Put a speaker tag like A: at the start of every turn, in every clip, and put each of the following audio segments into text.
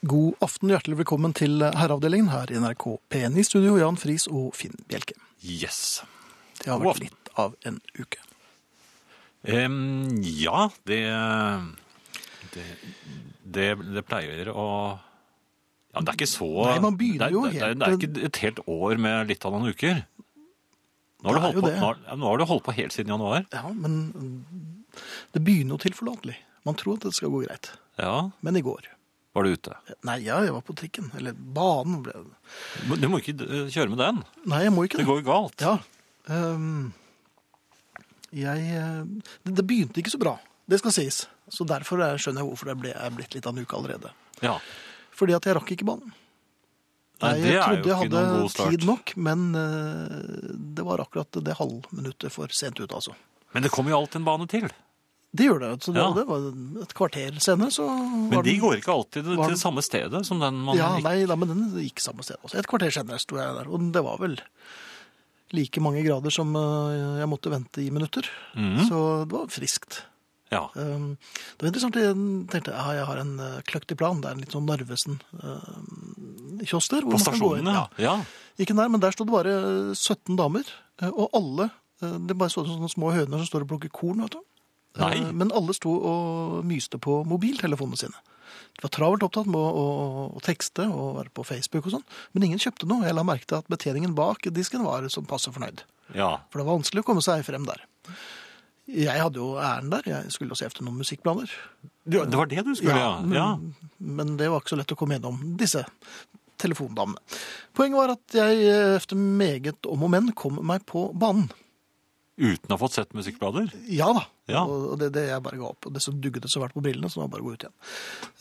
A: God aften, hjertelig velkommen til Herreavdelingen her i NRK P1 i studio, Jan Friis og Finn Bjelke.
B: Yes.
A: Det har
B: God
A: vært
B: aften.
A: litt av en uke.
B: Em, ja, det, det, det Det pleier å ja, Det er ikke så
A: Nei, man begynner
B: det er-
A: jo
B: det, er- det er
A: helt-
B: ikke et helt år med litt av noen uker. Nå har,
A: Det
B: du
A: er
B: holdt
A: jo
B: på,
A: det.
B: nå, har- ja, nå har du holdt på helt siden januar.
A: Ja, men mm, det begynner jo tilforlatelig. Man tror at det skal gå greit.
B: Ja,
A: Men i går
B: var du ute.
A: Nei, ja, jeg var på trikken. Eller banen ble det.
B: Men Du må ikke eh, kjøre med den.
A: Nei, jeg må ikke
B: Det
A: det.
B: går jo galt.
A: Ja. ehm, jeg eh, det, det begynte ikke så bra. Det skal sies. Så derfor eh, skjønner jeg hvorfor det ble, er blitt litt av en uke allerede.
B: Ja.
A: Fordi at jeg rakk ikke banen.
B: Nei,
A: Nei,
B: det
A: jeg
B: er jo
A: trodde jeg
B: ikke
A: hadde
B: noen god start.
A: tid nok, men eh, det var akkurat det halvminuttet for sent ut, altså.
B: Men det kommer jo alltid en bane til.
A: Det gjør det. Så det,
B: Ja.
A: det var et kvarter senere, så
B: Men
A: var
B: de
A: den-
B: går ikke alltid
A: var den-
B: til samme stedet som den man
A: Ja,
B: gikk-
A: nei, da, men den gikk samme sted også. Et kvarter senere sto jeg der, og det var vel like mange grader som eh, jeg måtte vente i minutter.
B: Mhm.
A: Så det var friskt.
B: ja.
A: Um, det var interessant, jeg tenkte ja, jeg har en eh, kløktig plan. Det er en litt sånn Narvesen-kiosk der. hvor man
B: På
A: kan gå inn.
B: stasjonen, ja. ja.
A: Ikke nær, men der stod det bare eh, 17 damer, eh, og alle eh, Det bare så ut som sånne små høner som står og plukker korn, vet du. Eh,
B: Nei.
A: Men alle sto og myste på mobiltelefonene sine. De var travelt opptatt med å, å, å tekste og være på Facebook og sånn. Men ingen kjøpte noe. Jeg la merke til at betjeningen bak disken var som passe fornøyd.
B: ja.
A: For det var vanskelig å komme seg frem der. Jeg hadde jo æren der. Jeg skulle jo se etter noen musikkplaner.
B: Det det var det du skulle, ja.
A: men,
B: ja.
A: men det var ikke så lett å komme gjennom disse telefondamene. Poenget var at jeg eh, efter meget om og men kom meg på banen.
B: Uten å ha fått sett musikkblader?
A: Ja da.
B: Ja.
A: Og og det, det jeg bare ga opp. Og det som dugget så fælt på brillene, så det var bare å gå ut igjen.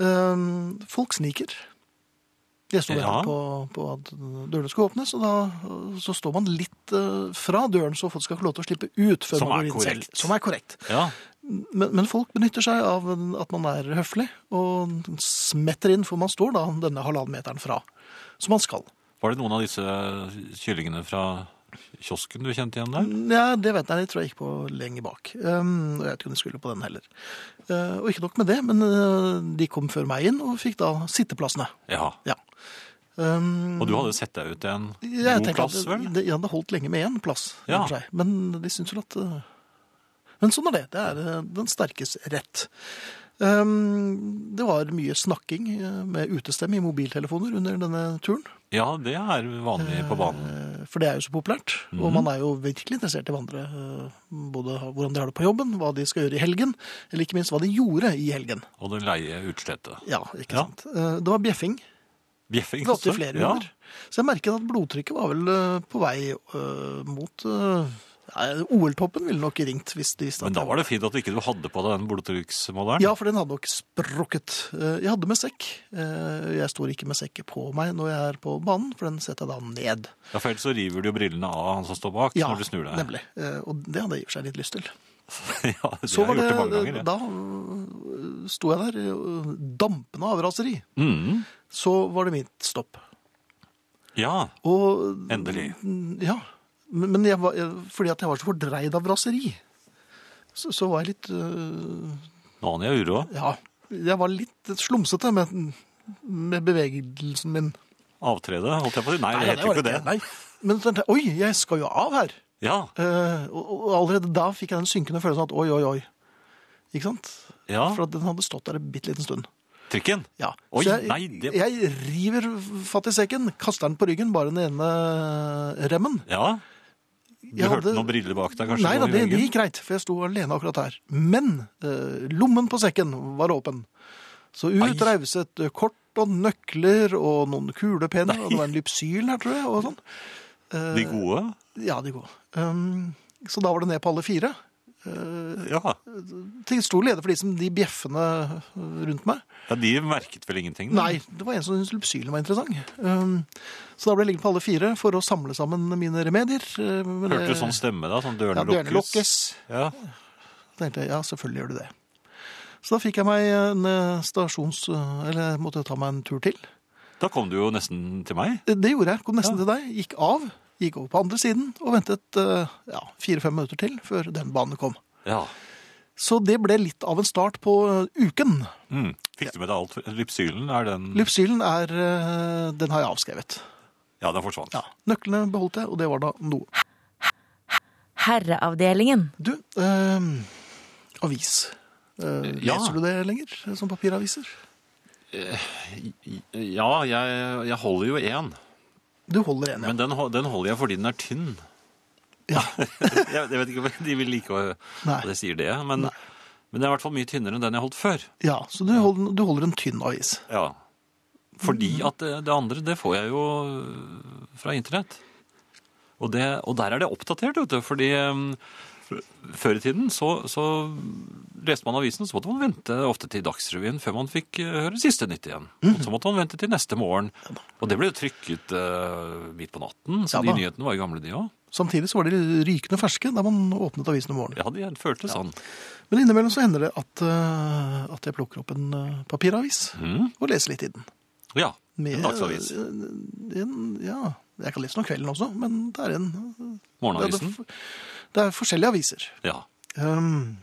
A: Ehm, folk sniker. Jeg sto
B: Ja.
A: der på, på at dørene skulle åpnes, og da eh, så står man litt eh, fra døren, så folk skal få lov til å slippe ut før
B: Som
A: man
B: er
A: går inn selv.
B: korrekt.
A: Som er korrekt.
B: Ja.
A: Men, men folk benytter seg av at man er høflig, og smetter inn, for man står da denne halvannen meteren fra, som man skal.
B: Var det noen av disse kyllingene fra kiosken du kjente igjen der?
A: Ja, det vet jeg, det tror jeg gikk på lenger bak. Um, og jeg vet ikke om de skulle på den heller. Eh, og ikke nok med det, men eh, de kom før meg inn og fikk da sitteplassene.
B: Ja.
A: Ja. Um,
B: Og du hadde sett deg ut i en
A: jeg
B: god
A: tenkte
B: plass,
A: at
B: vel?
A: Det, det, ja, det holdt lenge med én plass, i og
B: Ja.
A: for seg. men de syns vel at eh, Men sånn er det. Det er eh, den sterkes rett. Um, det var mye snakking eh, med utestemme i mobiltelefoner under denne turen.
B: Ja, det er vanlig på banen. Mhm.
A: Eh, For det er jo så populært, og man er jo virkelig interessert i hverandre. eh, Både hvordan de har det på jobben, hva de skal gjøre i helgen, eller ikke minst hva de gjorde i helgen.
B: Og det leie utslettet.
A: Ja, ikke
B: Ja.
A: sant? Eh, Det var bjeffing.
B: Bjeffing
A: Det var opptil flere
B: Ja.
A: hunder. Så jeg merket at blodtrykket var vel eh, på vei eh, mot eh, nei, OL-toppen ville nok ringt hvis de visste at
B: Men da
A: jeg
B: var det fint at ikke du hadde på deg den blodtrykksmåleren.
A: Ja, for den hadde nok sprukket. Eh, Jeg hadde med sekk. Eh, Jeg står ikke med sekk på meg når jeg er på banen, for den setter jeg da ned.
B: Ja, for ellers så river du jo brillene av han som står bak
A: Ja,
B: når du snur deg.
A: nemlig. Eh, Og det hadde jeg i og for seg litt lyst til.
B: ja, det
A: Så var
B: har jeg
A: det,
B: gjort det mange ganger. Ja.
A: da øh, sto jeg der øh, dampende av raseri.
B: Mhm.
A: Så var det mitt stopp.
B: ja.
A: Og,
B: Endelig.
A: Ja, men men jeg var, jeg- fordi at jeg var så fordreid av raseri, så, så var jeg litt, øh,
B: Nå aner jeg uro.
A: ja, jeg var litt slumsete med, med bevegelsen min.
B: Avtrede, holdt jeg på å si. Nei, det heter jo ikke det.
A: Nei. Men så tenkte jeg, oi, jeg skal jo av her.
B: Ja,
A: Eh, og, og allerede da fikk jeg den synkende følelsen at oi, oi, oi. Ikke sant?
B: ja.
A: For at den hadde stått der en bitte liten stund.
B: Trikken.
A: Ja.
B: Oi,
A: så jeg,
B: nei, det-
A: jeg river fatt i sekken, kaster den på ryggen, bare den ene remmen.
B: Ja. Du
A: Jeg
B: hørte
A: hadde-
B: noen briller bak deg, kanskje?
A: Nei da,
B: noe i
A: det, det
B: veggen?
A: gikk greit, for jeg sto alene akkurat her. Men eh, lommen på sekken var åpen. Så
B: Ai.
A: ut rauset kort og nøkler og noen kulepenner, og det var en lypsyl her, tror jeg, og sånn.
B: De gode?
A: Ja, de går. Um, så da var det ned på alle fire. Eh,
B: Ja.
A: til stor glede for de som de bjeffende eh, rundt meg.
B: ja. De merket vel ingenting? da?
A: Nei, det var en som syntes lypsylen var interessant. Um, så da ble jeg liggende på alle fire for å samle sammen mine remedier. eh, men
B: Hørte
A: det-
B: du sånn stemme da? Sånn
A: Ja,
B: dørene
A: dørene
B: lukkes?
A: lukkes.
B: Ja.
A: Da tenkte jeg, ja, selvfølgelig gjør du det. Så da fikk jeg meg en eh, stasjons... Eller måtte jeg ta meg en tur til.
B: Da kom du jo nesten til meg.
A: Eh, Det gjorde jeg. Kom nesten til deg. Gikk av. Gikk over på andre siden og ventet eh, ja, fire-fem minutter til før den banen kom.
B: Ja.
A: Så det ble litt av en start på eh, uken.
B: Mm. Fikk du med deg alt? Lypsylen er den
A: Lypsylen er eh, Den har jeg avskrevet.
B: Ja, den forsvant.
A: Ja. Nøklene beholdt jeg, og det var da noe.
C: Herreavdelingen.
A: Du, eh, avis. Eh,
B: Ja.
A: Leser du det lenger? eh, Som papiraviser?
B: Ja, jeg, jeg holder jo én.
A: Du holder en, ja.
B: Men den, hol- den holder jeg fordi den er tynn.
A: ja.
B: Jeg, jeg vet ikke om de vil like å-
A: Nei.
B: at jeg sier det, men, men den er i hvert fall mye tynnere enn den jeg holdt før.
A: ja så du holder, du holder en tynn avis.
B: Ja. Fordi
A: Mm.
B: at det, det andre, det får jeg jo eh, fra internett. Og, det, og der er det oppdatert, vet du. Fordi um, før i tiden så, så leste man avisen, så måtte man vente ofte til Dagsrevyen før man fikk eh, høre siste nytt igjen.
A: Mhm.
B: Og så måtte man vente til neste morgen. Og det ble jo trykket eh, midt på natten, så
A: Ja
B: de
A: da.
B: nyhetene var jo gamle de òg.
A: Samtidig så var de rykende ferske da man åpnet avisen om morgenen.
B: Ja, de føltes sånn.
A: Men innimellom så hender det at, eh, at jeg plukker opp en eh, papiravis
B: Mhm.
A: og leser litt i den.
B: Ja,
A: Med,
B: en dagsavis.
A: eh, En, ja, jeg kan lese den om kvelden også, men det er en eh, det er,
B: Morgenavisen.
A: det er forskjellige aviser.
B: Ja.
A: Um,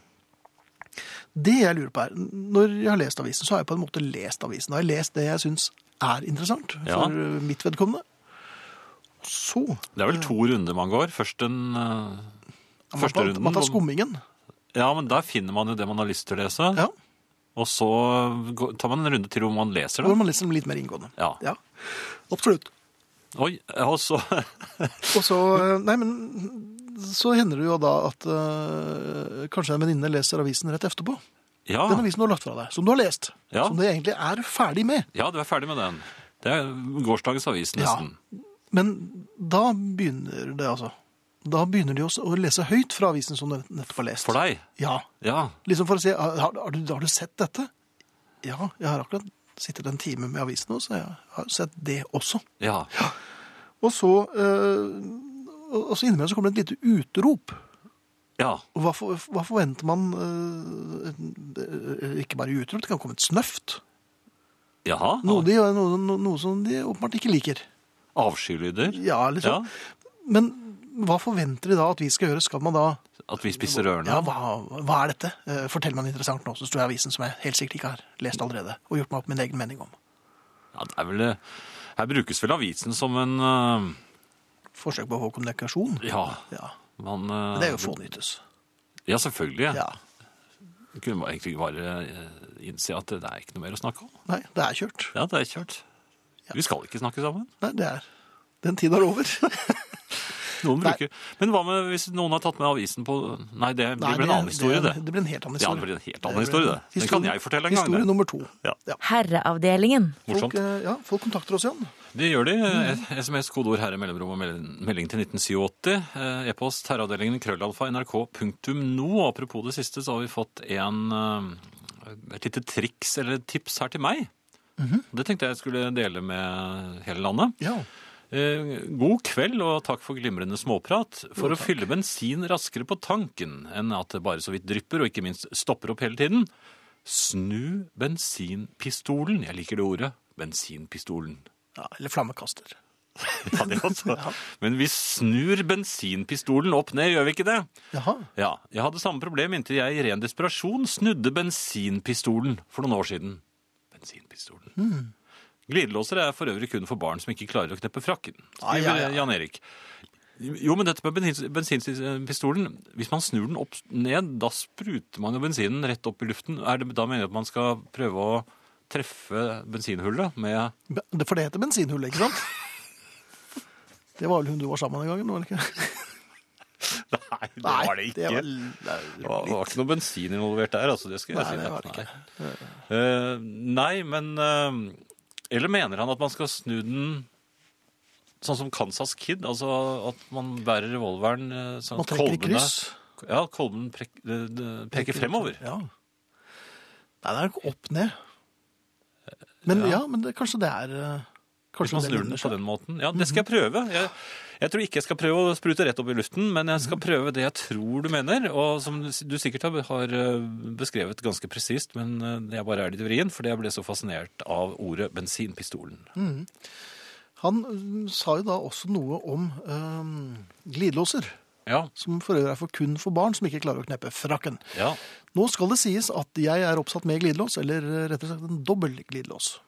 A: det jeg lurer på er, når jeg har lest avisen, så har jeg på en måte lest avisen. Da har jeg lest det jeg syns er interessant
B: Ja.
A: for eh, mitt vedkommende. Så
B: Det er vel to runder man går. Først den eh,
A: man
B: første
A: tar,
B: runden.
A: man tar
B: hvor-
A: skummingen.
B: Ja, men der finner man jo det man har lyst til å lese.
A: Ja,
B: Og så går- tar man en runde til hvor man leser
A: hvor
B: det.
A: man leser dem litt mer inngående.
B: Ja.
A: Ja, absolutt.
B: Oi, og så
A: Og så, eh, nei, men så hender det jo da at eh, kanskje en venninne leser avisen rett etterpå.
B: Ja,
A: Den avisen du har lagt fra deg, som du har lest.
B: Ah. Ja.
A: Som du egentlig er ferdig med.
B: ja du er ferdig med den. Det er gårsdagens avis, nesten.
A: Men da begynner det, altså. Da begynner de også å lese høyt fra avisen som du nettopp har lest.
B: For deg.
A: Ja.
B: Ja.
A: Liksom for å si har, har, du, 'Har du sett dette?' Ja, jeg har akkurat sittet en time med avisen nå, så jeg har sett det også.
B: ja.
A: Og så, eh, og så innimellom så kommer det et lite utrop.
B: Ja.
A: Og hva, for, hva forventer man eh, eh, Ikke bare i utrop, det kan komme et snøft.
B: Jaha.
A: Noe, de, noe, noe, noe som de åpenbart ikke liker.
B: Avskylyder.
A: Ja, eller så.
B: Ja.
A: Men hva forventer de da at vi skal gjøre? Skal man da
B: At vi spiser ørene.
A: Ja, hva, hva er dette? Eh, Fortell meg noe interessant nå, så står jeg i avisen som jeg helt sikkert ikke har lest allerede. Og gjort meg opp min egen mening om.
B: Ja, det er vel eh, Her brukes vel avisen som en øh,
A: Forsøk på å få kommunikasjon.
B: Ja.
A: Ja.
B: Man,
A: Men
B: øh,
A: Det er jo fånyttes.
B: Ja, selvfølgelig.
A: Ja.
B: Kunne man egentlig bare eh, innse at det er ikke noe mer å snakke om.
A: Nei, det er kjørt.
B: Ja, det er kjørt. Vi skal ikke snakke sammen.
A: Nei, det er Den tiden er over.
B: Noen
A: Nei.
B: bruker. Men hva med hvis noen har tatt med avisen på Nei, det blir
A: Nei,
B: vel en annen historie, det.
A: Det, det blir en helt annen
B: Ja,
A: historie.
B: det blir en helt annen historie, det. Den kan jeg fortelle en gang,
A: Historie
B: det.
A: nummer to.
B: Ja.
C: Herreavdelingen.
A: Folk,
B: Morsomt.
A: eh, ja, folk kontakter oss igjen.
B: Det gjør de. Eh, SMS, kodeord herre, mellomrom og mel- melding til 1987. Eh, E-post herreavdelingen krøllalfa nrk.no. Apropos det siste, så har vi fått en, eh, et lite triks eller et tips her til meg. Det tenkte jeg skulle dele med hele landet.
A: Ja.
B: Eh, God kveld og takk for glimrende småprat. For å fylle bensin raskere på tanken enn at det bare så vidt drypper og ikke minst stopper opp hele tiden, snu bensinpistolen. Jeg liker det ordet. Bensinpistolen.
A: ja eller flammekaster.
B: Ja, det altså. Men vi snur bensinpistolen opp ned, gjør vi ikke det?
A: Jaha.
B: Ja, Jeg hadde samme problem inntil jeg i ren desperasjon snudde bensinpistolen for noen år siden. Bensinpistolen. Glidelåser er for øvrig kun for barn som ikke klarer å kneppe frakken, skriver
A: Ah, ja, ja.
B: Jan Erik. Jo, men dette med bensin- bensinpistolen Hvis man snur den opp ned, da spruter man jo bensinen rett opp i luften. Er det, da mener jeg at man skal prøve å treffe bensinhullet med
A: Det- For det heter bensinhull, ikke sant? Det var vel hun du var sammen med den gangen? var det ikke?
B: Nei, det var det ikke.
A: var-
B: det,
A: det
B: var,
A: var
B: det var ikke noe bensin involvert der, altså. Det skal jeg
A: Nei,
B: si.
A: det
B: deg.
A: var det ikke.
B: Eh, nei, men eh, Eller mener han at man skal snu den sånn som Kansas Kid? Altså at man bærer revolveren eh, sånn
A: Man
B: at
A: trekker i
B: kolbene
A: kryss.
B: Ja, kolben prek, eh, de- peker fremover.
A: Ja. Nei, det er ikke opp ned. Men ja, men det, kanskje det er eh,
B: Eh, Hvis
A: kanskje
B: man
A: det Mhm.
B: snur
A: lønner
B: den på
A: seg.
B: den måten. Ja, det skal jeg prøve. Jeg, jeg tror ikke jeg skal prøve å sprute rett opp i luften, men jeg skal prøve det jeg tror du mener, og som du du sikkert har, har eh, beskrevet ganske presist, men eh, jeg bare er litt vrien, fordi jeg ble så fascinert av ordet bensinpistolen.
A: Mm. Han mm, sa jo da også noe om eh, glidelåser.
B: Ja.
A: som for øvrig er for kun for barn som ikke klarer å kneppe frakken.
B: ja.
A: Nå skal det sies at jeg er oppsatt med glidelås, eller eh, rett og slett en dobbel glidelås.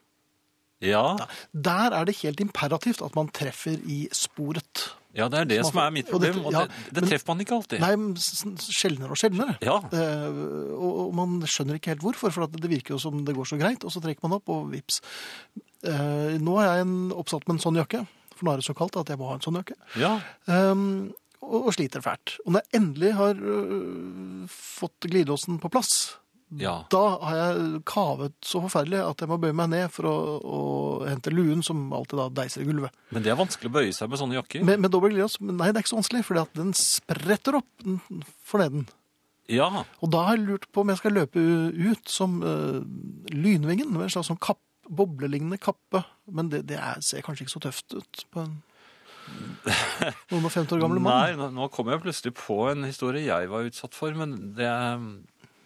B: Ja.
A: Ja. Der er det helt imperativt at man treffer i sporet.
B: ja, det er det som er mitt
A: Og dette-
B: problem. Og
A: ja,
B: det, det
A: men-
B: treffer man ikke alltid.
A: Nei, men s- s- sjeldnere og sjeldnere.
B: Ja.
A: Eh, og, og man skjønner ikke helt hvorfor, for at det virker jo som det går så greit, og så trekker man opp, og vips. Eh, nå er jeg en, oppsatt med en sånn jakke, for nå er det så kaldt at jeg må ha en sånn jakke.
B: Ja.
A: Ehm, og, og sliter fælt. Og når jeg endelig har øh, fått glidelåsen på plass,
B: ja.
A: da har jeg kavet så forferdelig at jeg må bøye meg ned for å, å hente luen som alltid da deiser i gulvet.
B: Men det er vanskelig å bøye seg med sånne jakker.
A: Med, med dobbel glidelås, men nei, det er ikke så vanskelig, for den spretter opp den- for neden.
B: Ja.
A: Og da har jeg lurt på om jeg skal løpe u- ut som øh, lynvingen, med en slags sånn kapp, boblelignende kappe. Men det, det er, ser kanskje ikke så tøft ut på en noen og 50 år gamle mann.
B: Nei, nå- nå kom jeg plutselig på en historie jeg var utsatt for, men det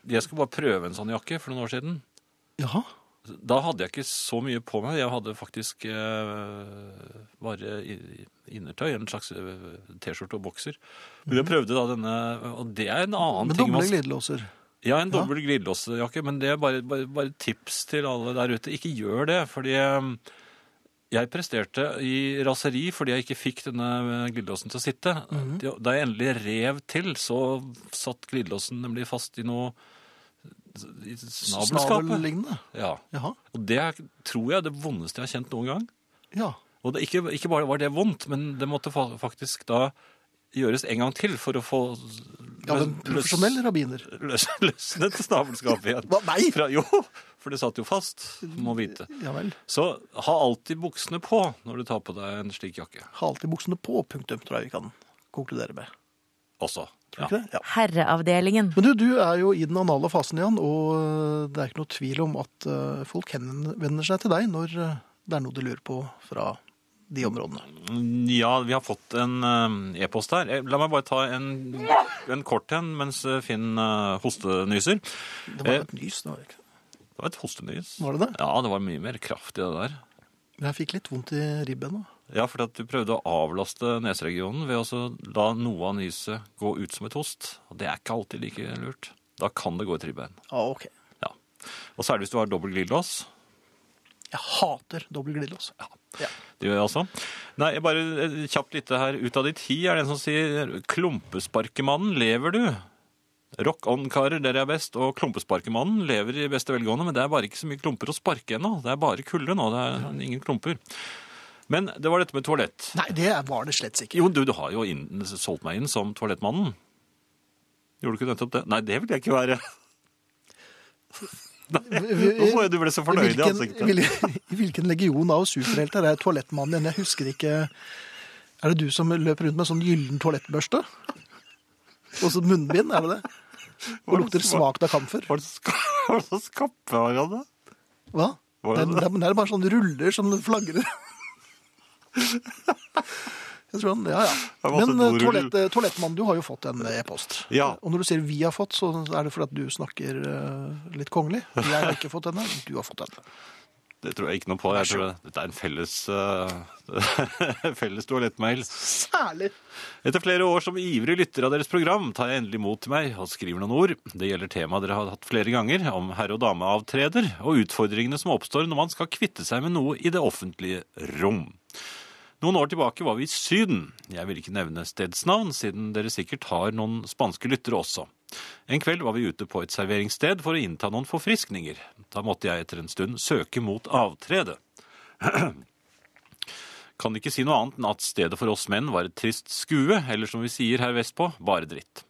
B: Jeg skulle bare prøve en sånn jakke for noen år siden.
A: Jaha.
B: Da hadde jeg ikke så mye på meg. Jeg hadde faktisk eh, bare i- innertøy, en slags eh, T-skjorte og bokser. Men jeg prøvde da denne, og det er en annen
A: Med
B: ting
A: doble
B: man skal
A: glidelåser.
B: Ja, en dobbel glidelåsjakke, men det er bare, bare, bare tips til alle der ute. Ikke gjør det, fordi um, jeg presterte i raseri fordi jeg ikke fikk denne eh, glidelåsen til å sitte.
A: Mhm.
B: Da jeg endelig rev til, så satt glidelåsen nemlig fast i noe i snabelskapet.
A: Snabellignende.
B: Ja.
A: Jaha.
B: Og det er, tror jeg er det vondeste jeg har kjent noen gang.
A: Ja.
B: Og det, ikke, ikke bare var det vondt, men det måtte fa- faktisk da gjøres en gang til for å få
A: ja men
B: løs-
A: profesjonell rabbiner.
B: løs, løsnet snabelskapet igjen.
A: Hva? Nei!
B: Fra, jo, for det satt jo fast, må vite.
A: Ja vel.
B: Så ha alltid buksene på når du tar på deg en slik jakke
A: Ha alltid buksene på, punktum, tror jeg vi kan konkludere med.
B: også.
A: Tror
B: Ja.
A: du ikke det? Ja.
C: Herreavdelingen.
A: Men du, du er jo i den anale fasen, Jan, og eh, det er ikke noe tvil om at eh, folk henvender seg til deg når eh, det er noe de lurer på fra de områdene.
B: Mm, ja, vi har fått en eh, e-post her. Eh, La meg bare ta en, en kort en mens eh, Finn eh, hostenyser.
A: Det
B: Eh.
A: var et nys, det var det ikke det?
B: Det var et hostenys.
A: Var det det?
B: Ja, det var mye mer kraft i det der.
A: Men jeg fikk litt vondt i ribben nå.
B: Ja, fordi at du prøvde å avlaste neseregionen ved å så la noe av nyset gå ut som et host. Og det er ikke alltid like lurt. Da kan det gå i tribbein.
A: Ja, ok.
B: Ja. Og særlig hvis du har dobbel glidelås.
A: Jeg hater dobbel glidelås. Ja.
B: Det gjør jeg også. Nei, jeg bare eh, kjapt litt her. Ut av de ti er det en som sier Klumpesparkemannen, lever du? Rock on, karer, dere er best. Og Klumpesparkemannen lever i beste velgående, men det er bare ikke så mye klumper å sparke ennå. Det er bare kulde nå. Det er ingen klumper. Men det var dette med toalett.
A: Nei, det var det slett ikke.
B: Jo, du, du har jo inn, solgt meg inn som toalettmannen. Gjorde du ikke nettopp det? Nei, det vil jeg ikke være. Nå må jeg, du ble så fornøyd i ansiktet.
A: Hvilken, hvil- I hvilken legion av superhelter er toalettmannen igjen? Jeg husker ikke. Er det du som løper rundt med en sånn gyllen toalettbørste? Og så munnbind, er det det? Og lukter svakt av kamfer?
B: Var det så ska- var det så skappe, Marianne?
A: Hva?
B: Var
A: Det
B: det
A: er, det er, men det er bare sånne ruller som flagrer. Jeg tror han, ja, ja.
B: Det var
A: Men
B: også en
A: eh,
B: dorull.
A: toalett, eh, toalettmannen, du har jo fått en e-post.
B: Ja.
A: Og når du sier vi har fått, så er det fordi at du snakker eh, litt kongelig. Jeg har ikke fått denne, du har fått denne.
B: Det tror jeg ikke noe på. Jeg tror det- Dette er en felles, eh, felles toalettmail.
A: Særlig.
B: Etter flere år som ivrig lytter av deres program, tar jeg endelig mot til meg og skriver noen ord. Det gjelder temaet dere har hatt flere ganger, om herre- og dameavtreder, og utfordringene som oppstår når man skal kvitte seg med noe i det offentlige rom. Noen år tilbake var vi i Syden. Jeg vil ikke nevne stedsnavn, siden dere sikkert har noen spanske lyttere også. En kveld var vi ute på et serveringssted for å innta noen forfriskninger. Da måtte jeg etter en stund søke mot avtrede. Kan ikke si noe annet enn at stedet for oss menn var et trist skue, eller som vi sier her vestpå, bare dritt.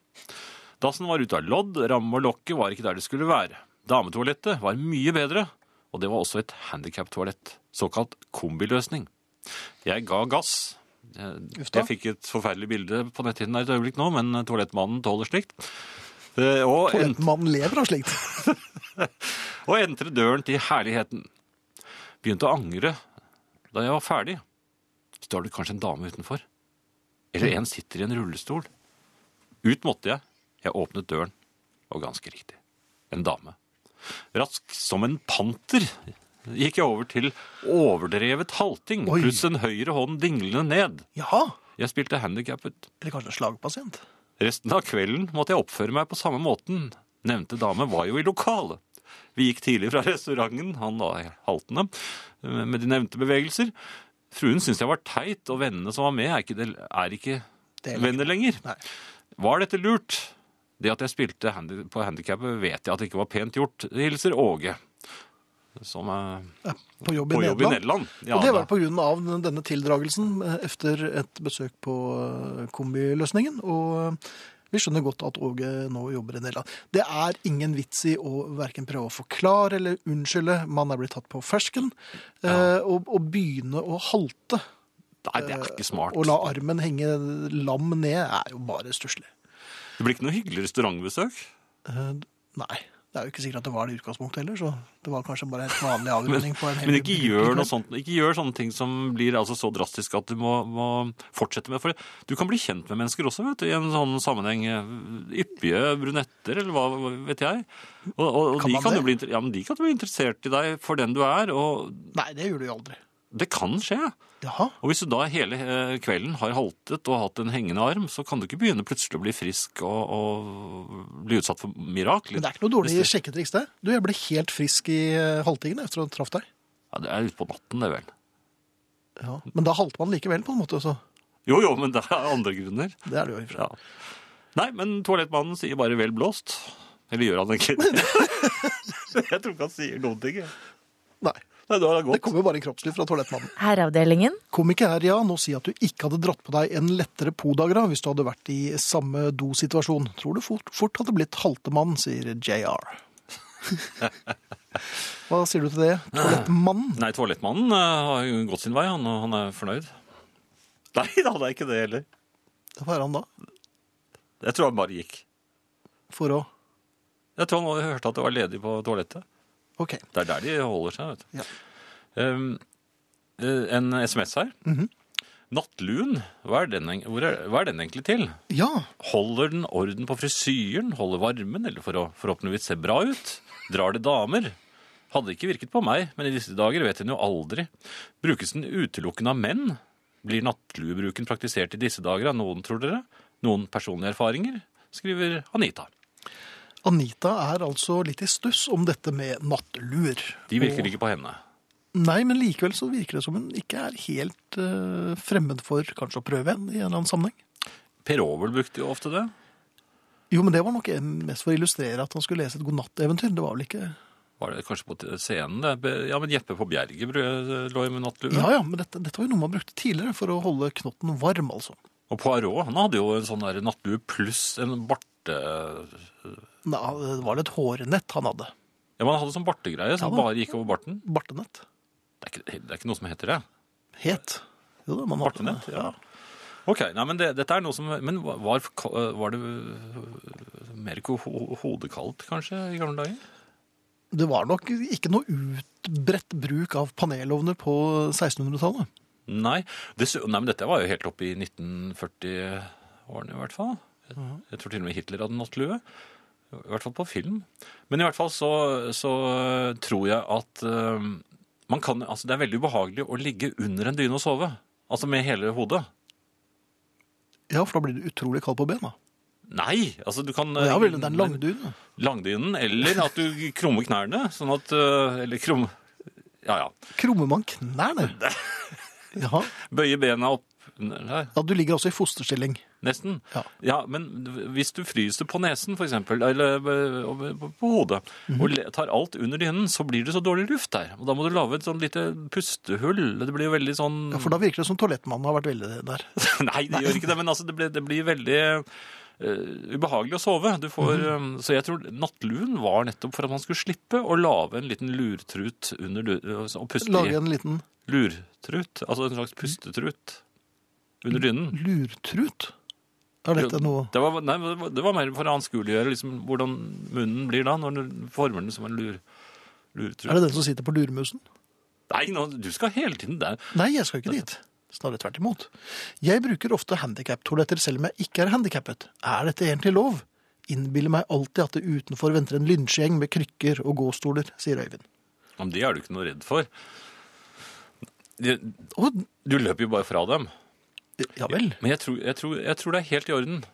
B: Dassen var ute av lodd, ramme og lokket var ikke der det skulle være. Dametoalettet var mye bedre, og det var også et handikaptoalett, såkalt kombiløsning. Jeg ga gass. Jeg,
A: Uff da.
B: jeg fikk et forferdelig bilde på netthinnen her et øyeblikk nå, men toalettmannen tåler slikt. Eh, Og en,
A: Toalettmannen lever av slikt.
B: og entret døren til herligheten. Begynte å angre da jeg var ferdig. Står det kanskje en dame utenfor? Eller en sitter i en rullestol? Ut måtte jeg. Jeg åpnet døren, og ganske riktig. En dame. Rask som en panter gikk jeg over til overdrevet halting,
A: Oi.
B: pluss en høyre hånd dinglende ned.
A: Jaha.
B: Jeg spilte handikappet.
A: Eller kanskje en slagpasient.
B: Resten av kvelden måtte jeg oppføre meg på samme måten. Nevnte dame var jo i lokalet. Vi gikk tidlig fra restauranten, han da haltende, eh, med de nevnte bevegelser. Fruen syntes jeg var teit, og vennene som var med, er ikke, er ikke
A: Det er
B: venner lenger.
A: Nei.
B: Var dette lurt? Det at jeg spilte handi på handikappet, vet jeg at det ikke var pent gjort. Hilser Åge, som er
A: På jobb i
B: på jobb i
A: Nederland.
B: Nederland. Ja,
A: og det
B: da.
A: var pga. denne tildragelsen eh, etter et besøk på eh, kombiløsningen. Og eh, vi skjønner godt at Åge nå jobber i Nederland. Det er ingen vits i å verken prøve å forklare eller unnskylde. Man er blitt tatt på fersken. eh, Og, og begynne å halte
B: Nei, det er ikke smart.
A: og la armen henge lam ned er jo bare stusslig.
B: Det blir ikke noe hyggelig restaurantbesøk.
A: Eh, Nei. Det er jo ikke sikkert at det var det i utgangspunktet heller, så det var kanskje bare en vanlig avrunding. på en hel-
B: Men ikke gjør, noe sånt, ikke gjør sånne ting som blir altså så drastisk at du må, må fortsette med For du kan bli kjent med mennesker også, vet du, i en sånn sammenheng. Yppige brunetter, eller hva hva vet jeg. Og, og, og
A: Kan
B: de,
A: man
B: kan
A: det?
B: jo bli, inter- ja, men de kan jo bli interessert i deg for den du er, og
A: Nei, det gjør du jo aldri.
B: det kan skje.
A: Jaha.
B: Og hvis du da hele eh, kvelden har haltet og hatt en hengende arm, så kan du ikke begynne plutselig å bli frisk og, og bli utsatt for mirakler.
A: Men det er ikke noe dårlig sjekketriks, det. Du, jeg ble helt frisk i eh, halvtingen etter å traff deg.
B: Ja, det er ute på natten, det vel.
A: Ja. Men da halte man likevel, på en måte. Så
B: Jo, jo, men det er andre grunner.
A: det er det jo i og for
B: Ja. Nei, men toalettmannen sier bare 'vel blåst'. Eller gjør han ikke det? jeg tror ikke han sier noen ting. jeg.
A: seg. Nei.
B: Nei, da har det
A: Det
B: gått.
A: kom jo bare en kroppslyd fra toalettmannen.
C: Herreavdelingen.
A: Kom ikke her, ja. Nå si at du ikke hadde dratt på deg en lettere podagra hvis du hadde vært i samme dosituasjon. Tror du fort, fort hadde blitt haltemann, sier JR. Hva sier du til det, toalettmannen?
B: Nei, toalettmannen eh, har jo gått sin vei, han, og han er fornøyd. Nei, da, det er ikke det heller.
A: Hva er han da?
B: Jeg tror han bare gikk.
A: For å
B: Jeg tror han hørte at det var ledig på toalettet.
A: OK.
B: Det er der de holder seg, vet du.
A: Ja.
B: Um, eh, en SMS her. Nattluen, hva er, den, eng- hvor er, hva er den egentlig til?
A: Ja.
B: Holder den orden på frisyren, holder varmen, eller for å forhåpentligvis se bra ut? Drar det damer? Hadde ikke virket på meg, men i disse dager vet en jo aldri. Brukes den utelukkende av menn? Blir nattluebruken praktisert i disse dager av noen, tror dere? Noen personlige erfaringer? skriver Anita.
A: Anita er altså litt i stuss om dette med nattluer.
B: De virker ikke på henne.
A: Nei, men likevel så virker det som hun ikke er helt eh, fremmed for kanskje å prøve en i en eller annen sammenheng.
B: Per Aabel brukte jo ofte det.
A: Jo, men det var nok mest for å illustrere at han skulle lese et godnatteventyr. Det var vel ikke
B: Var det kanskje på scenen? det? Ja, men Jeppe på Bjerget br- lå jo med nattlue.
A: Ja ja, men dette, dette var jo noe man brukte tidligere for å holde knotten varm, altså.
B: Og Poirot han hadde jo en sånn der nattlue pluss en barte...
A: Nei, det var det et hårnett han hadde?
B: Ja, men han hadde sånn bartegreie
A: Ja
B: som
A: da.
B: bare gikk over barten.
A: Bartenett?
B: Det er ikke, det er ikke noe som heter det.
A: Het. Jo da, man hadde
B: Bartenett, ja. Ok, nei, men det, dette er noe som... Men var, eh, var det øh, mer ko- ho- hodekaldt, kanskje, i gamle dager?
A: Det var nok ikke noe utbredt bruk av panelovner på 1600-tallet.
B: Nei. Det, sy- nei, men dette var jo helt opp i 1940-årene i hvert fall. Jeg,
A: Mhm.
B: jeg tror til og med Hitler hadde nattlue. I hvert fall på film. Men i hvert fall så, så øh, tror jeg at øh, man kan, altså det er veldig ubehagelig å ligge under en dyne og sove. Altså med hele hodet.
A: Ja, for da blir det utrolig kaldt på bena.
B: Nei, altså du kan
A: Ja vel, det er en
B: men-
A: langdune.
B: langdynen, eller at du krummer knærne, sånn at øh, Eller krum... Ja, ja.
A: Krummer man knærne? Ja.
B: Bøye bena opp Nei,
A: ja, du ligger altså i fosterstilling.
B: nesten.
A: Ja.
B: men hvis du fryser på nesen, for eksempel, eller øh, på på hodet,
A: Mhm.
B: og le- tar alt under dynen, så blir det så dårlig luft der. Og da må du lage et sånn lite pustehull. Det blir jo veldig sånn
A: Ja, For da virker det som toalettmannen har vært veldig der.
B: Nei, det gjør ikke det, men altså, det, blir, det blir veldig eh, ubehagelig å sove. Du får,
A: Mhm.
B: eh, så jeg tror nattluen var nettopp for at man skulle slippe å lage en liten lurtrut under du- altså, og puste
A: Lage
B: i.
A: en liten
B: Lurtrut, altså en slags pustetrut
A: Mm.
B: under dynen.
A: lurtrut. Er dette noe
B: Det var, nei, det var- det var mer for å anskueliggjøre liksom, hvordan munnen blir da, når du former den som en lur, lurtrut.
A: Er det den som sitter på lurmusen?
B: Nei, nå, du skal hele tiden der.
A: Nei, jeg skal ikke dit. Snarere tvert imot. Jeg bruker ofte handikaptoaletter selv om jeg ikke er handikappet. Er dette egentlig lov? Innbiller meg alltid at det utenfor venter en lynsjegjeng med krykker og gåstoler, sier Øyvind.
B: Ja, Men det er du ikke noe redd for. Du
A: Og,
B: løper jo bare fra dem.
A: ja vel.
B: Men jeg tror, jeg, tror, jeg tror det er helt i orden.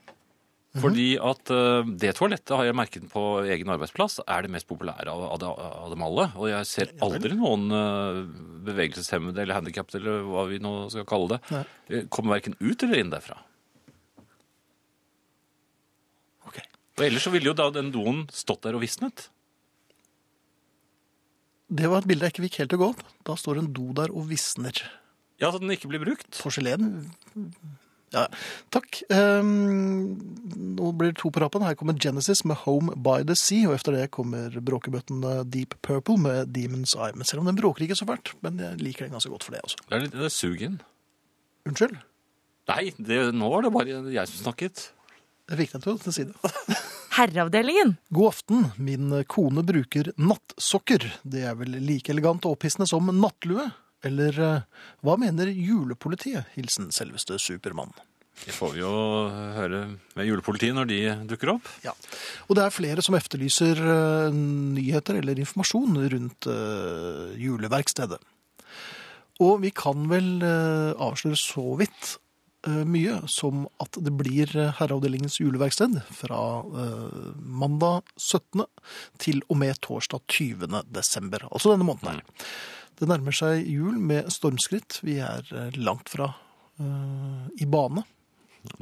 B: Fordi at eh, det toalettet har jeg merket på egen arbeidsplass er det mest populære av, av, de- av dem alle. Og jeg ser aldri noen eh, bevegelseshemmede eller handikappede eller hva vi nå skal kalle det,
A: Nei.
B: eh, kommer verken ut eller inn derfra.
A: Ok.
B: Og ellers så ville jo da den doen stått der og visnet.
A: Det var et bilde jeg ikke fikk helt til å gå opp. Da står en do der og visner.
B: Ja, så den ikke blir brukt.
A: Porselen Ja, takk. Ehm, nå blir det to på rappen. Her kommer Genesis med Home by the Sea, og etter det kommer bråkebøtten Deep Purple med Demon's Eye. Men selv om den bråker ikke så fælt, men jeg liker den ganske godt for det også.
B: Det er litt det er sugen.
A: Unnskyld?
B: Nei, det, nå var det bare jeg som snakket.
A: Jeg fikk den til å si det.
C: Herreavdelingen.
A: God aften. Min kone bruker nattsokker. Det er vel like elegant og opphissende som nattlue? Eller eh, hva mener julepolitiet? Hilsen selveste Supermann.
B: Det får vi jo høre med julepolitiet når de dukker opp.
A: Ja. Og det er flere som efterlyser eh, nyheter eller informasjon rundt eh, juleverkstedet. Og vi kan vel eh, avsløre så vidt eh, mye som at det blir eh, Herreavdelingens juleverksted fra eh, mandag 17. til og med torsdag 20. desember, altså denne måneden her. Det nærmer seg jul med stormskritt. Vi er eh, langt fra eh, i bane.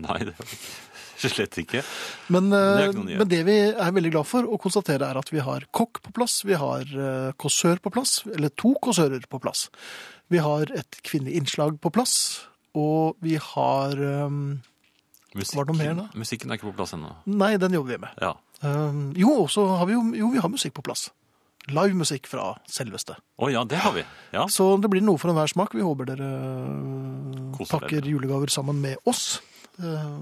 B: Nei, det er slett ikke.
A: Men,
B: er
A: eh,
B: ikke noe nyhet.
A: men det vi er veldig glad for å konstatere er at vi har kokk på plass, vi har eh, kåsør på plass, eller to kåsører på plass. Vi har et kvinnelig innslag på plass, og vi har eh, Var det noe mer da?
B: Musikken er ikke på plass ennå.
A: Nei, den jobber vi med.
B: Ja.
A: Eh, jo, og så har vi jo, jo, vi har musikk på plass. Live musikk fra selveste.
B: Å ja, det har vi. Ja.
A: Så det blir noe for enhver smak. Vi håper dere eh,
B: Koser
A: pakker
B: dere.
A: julegaver sammen med oss. Eh,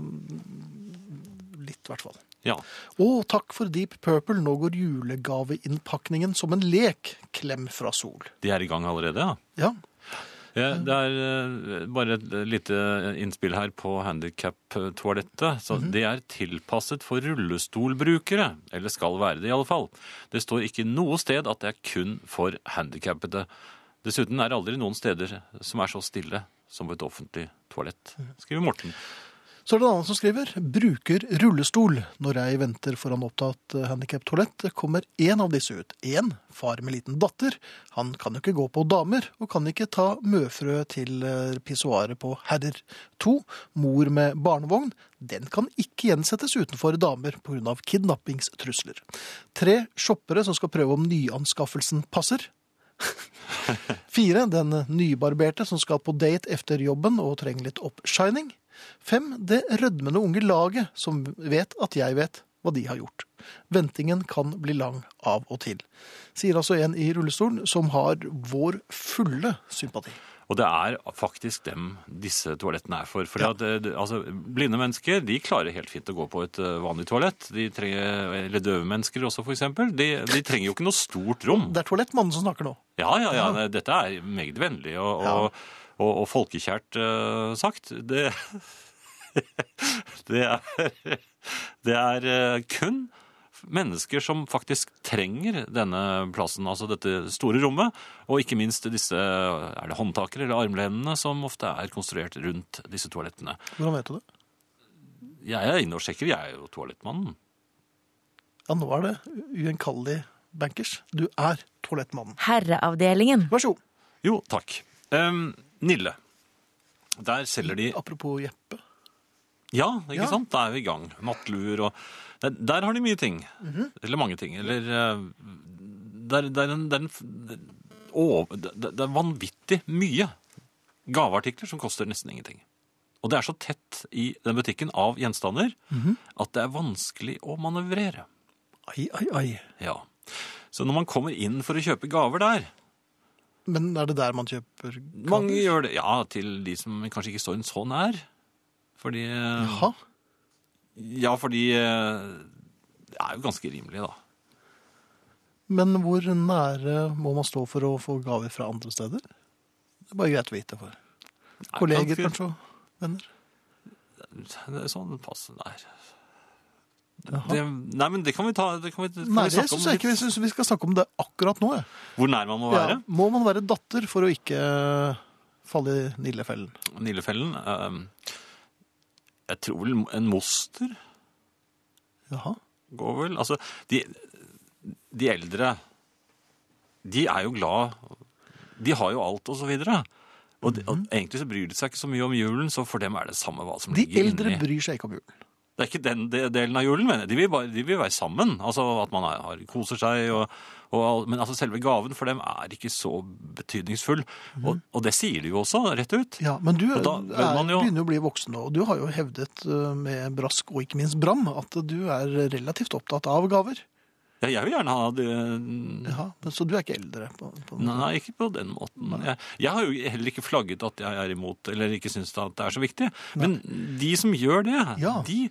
A: litt, i hvert fall.
B: ja.
A: Og takk for Deep Purple, nå går julegaveinnpakningen som en lek. Klem fra Sol.
B: De er i gang allerede, ja.
A: Ja,
B: Ja, Det er eh, bare et lite innspill her på handikap-toalettet. Så
A: Mhm.
B: Det er tilpasset for rullestolbrukere, eller skal være det i alle fall. Det står ikke noe sted at det er kun for handikappede. Dessuten er det aldri noen steder som er så stille som et offentlig toalett,
A: Mhm.
B: skriver Morten.
A: Så er det en annen som skriver bruker rullestol. Når jeg venter foran opptatt handikaptoalett, kommer én av disse ut. Én far med liten datter. Han kan jo ikke gå på damer, og kan ikke ta møfrø til eh, pissoaret på herrer. To mor med barnevogn. Den kan ikke gjensettes utenfor damer pga. kidnappingstrusler. Tre shoppere som skal prøve om nyanskaffelsen passer. Fire, den nybarberte som skal på date efter jobben og trenger litt oppshining. Fem, det rødmende unge laget som vet at jeg vet hva de har gjort. Ventingen kan bli lang av og til. Sier altså en i rullestolen som har vår fulle sympati.
B: Og det er faktisk dem disse toalettene er for. Fordi at, eh, det- altså, blinde mennesker de klarer helt fint å gå på et eh, vanlig toalett. De trenger, eller døve mennesker også, for eksempel. De, de trenger jo ikke noe stort rom.
A: Det er toalettmannen som snakker nå.
B: Ja, ja, ja. det- Dette er meget vennlig og, og, og, og folkekjært eh, sagt. Det, det er, det er eh, kun mennesker som faktisk trenger denne plassen, altså dette store rommet, og ikke minst disse er det håndtakere eller armlenene som ofte er konstruert rundt disse toalettene.
A: Hvordan vet du det?
B: Jeg er inne og sjekker, jeg er jo toalettmannen.
A: Ja, nå er det ugjenkallelig bankers. Du er toalettmannen.
C: Herreavdelingen.
A: Vær så god.
B: Jo, takk. Em, Nille. Der selger de
A: Apropos Jeppe.
B: Ja, ikke
A: Ja.
B: sant? Da er vi i gang. Nattluer og Der, der har de mye ting.
A: Mhm.
B: Eller mange ting. Eller eh, Det er- det er en, det er en f- det- å, det, det er vanvittig mye gaveartikler som koster nesten ingenting. Og det er så tett i den butikken av gjenstander
A: Mhm.
B: at det er vanskelig å manøvrere.
A: Ai, ai, ai.
B: Ja. Så når man kommer inn for å kjøpe gaver der
A: Men er det der man kjøper gaver?
B: Mange gjør det. Ja, til de som kanskje ikke står en så nær. Fordi eh,
A: Jaha.
B: Ja, fordi eh, det er jo ganske rimelig, da.
A: Men hvor nære må man stå for å få gaver fra andre steder? Det er bare greit å vite for.
B: Nei,
A: Kolleger,
B: ganske-
A: kanskje, og venner.
B: Det er sånn passe nær. Det, nei, men det kan vi ta det kan vi, kan
A: Nei,
B: vi
A: det
B: snakke om
A: syns jeg ikke. Jeg
B: litt.
A: synes vi skal snakke om det akkurat nå. jeg.
B: Hvor nær man må
A: Ja,
B: være.
A: må man være datter for å ikke eh, falle i nillefellen?
B: ehm, Nillefellen eh, Jeg tror vel en moster
A: Jaha.
B: går vel. Altså, de, de eldre, de er jo glad, de har jo alt og så videre. Og, de, og egentlig så bryr de seg ikke så mye om julen, så for dem er det samme hva som
A: Mhm. De
B: ligger
A: eldre
B: inni.
A: bryr seg ikke om julen.
B: Det er ikke den de- delen av julen, mener jeg. De vil, bare, de vil være sammen. Altså at man er, har, koser seg og, og all- Men altså selve gaven for dem er ikke så betydningsfull. Og, og det sier de jo også, rett ut.
A: Ja, men du
B: Og da bør
A: er,
B: man jo-
A: begynner jo å bli voksen nå, og du har jo hevdet eh, med brask og ikke minst bram at du er relativt opptatt av gaver.
B: Ja, jeg vil gjerne ha det
A: Ja, men Så du er ikke eldre? På, på
B: Mm. Nei, ikke på den måten. Jeg, jeg har jo heller ikke flagget at jeg er imot, eller ikke syns at det er så viktig. Men de som gjør det,
A: Ja.
B: de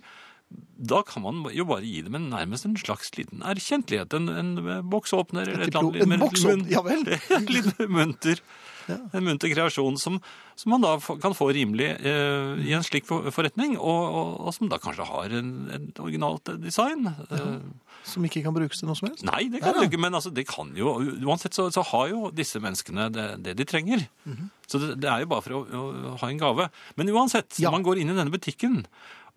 B: da kan man jo bare gi dem en, nærmest en slags liten erkjentlighet. En, en boksåpner eller et eller
A: diplo-
B: annet.
A: en
B: med litt
A: boksåpner,
B: munn-
A: ja vel.
B: litt munter. En munter kreasjon som, som man da få- kan få rimelig eh, i en slik for- forretning, og, og, og som da kanskje har en, en originalt design. Eh,
A: Som ikke kan brukes til noe som helst?
B: Nei, det kan
A: Nei,
B: du
A: nei.
B: ikke, men altså, det kan jo Uansett så, så har jo disse menneskene det, det de trenger.
A: Mhm.
B: Så det, det er jo bare for å, å ha en gave. Men uansett,
A: Ja.
B: man går inn i denne butikken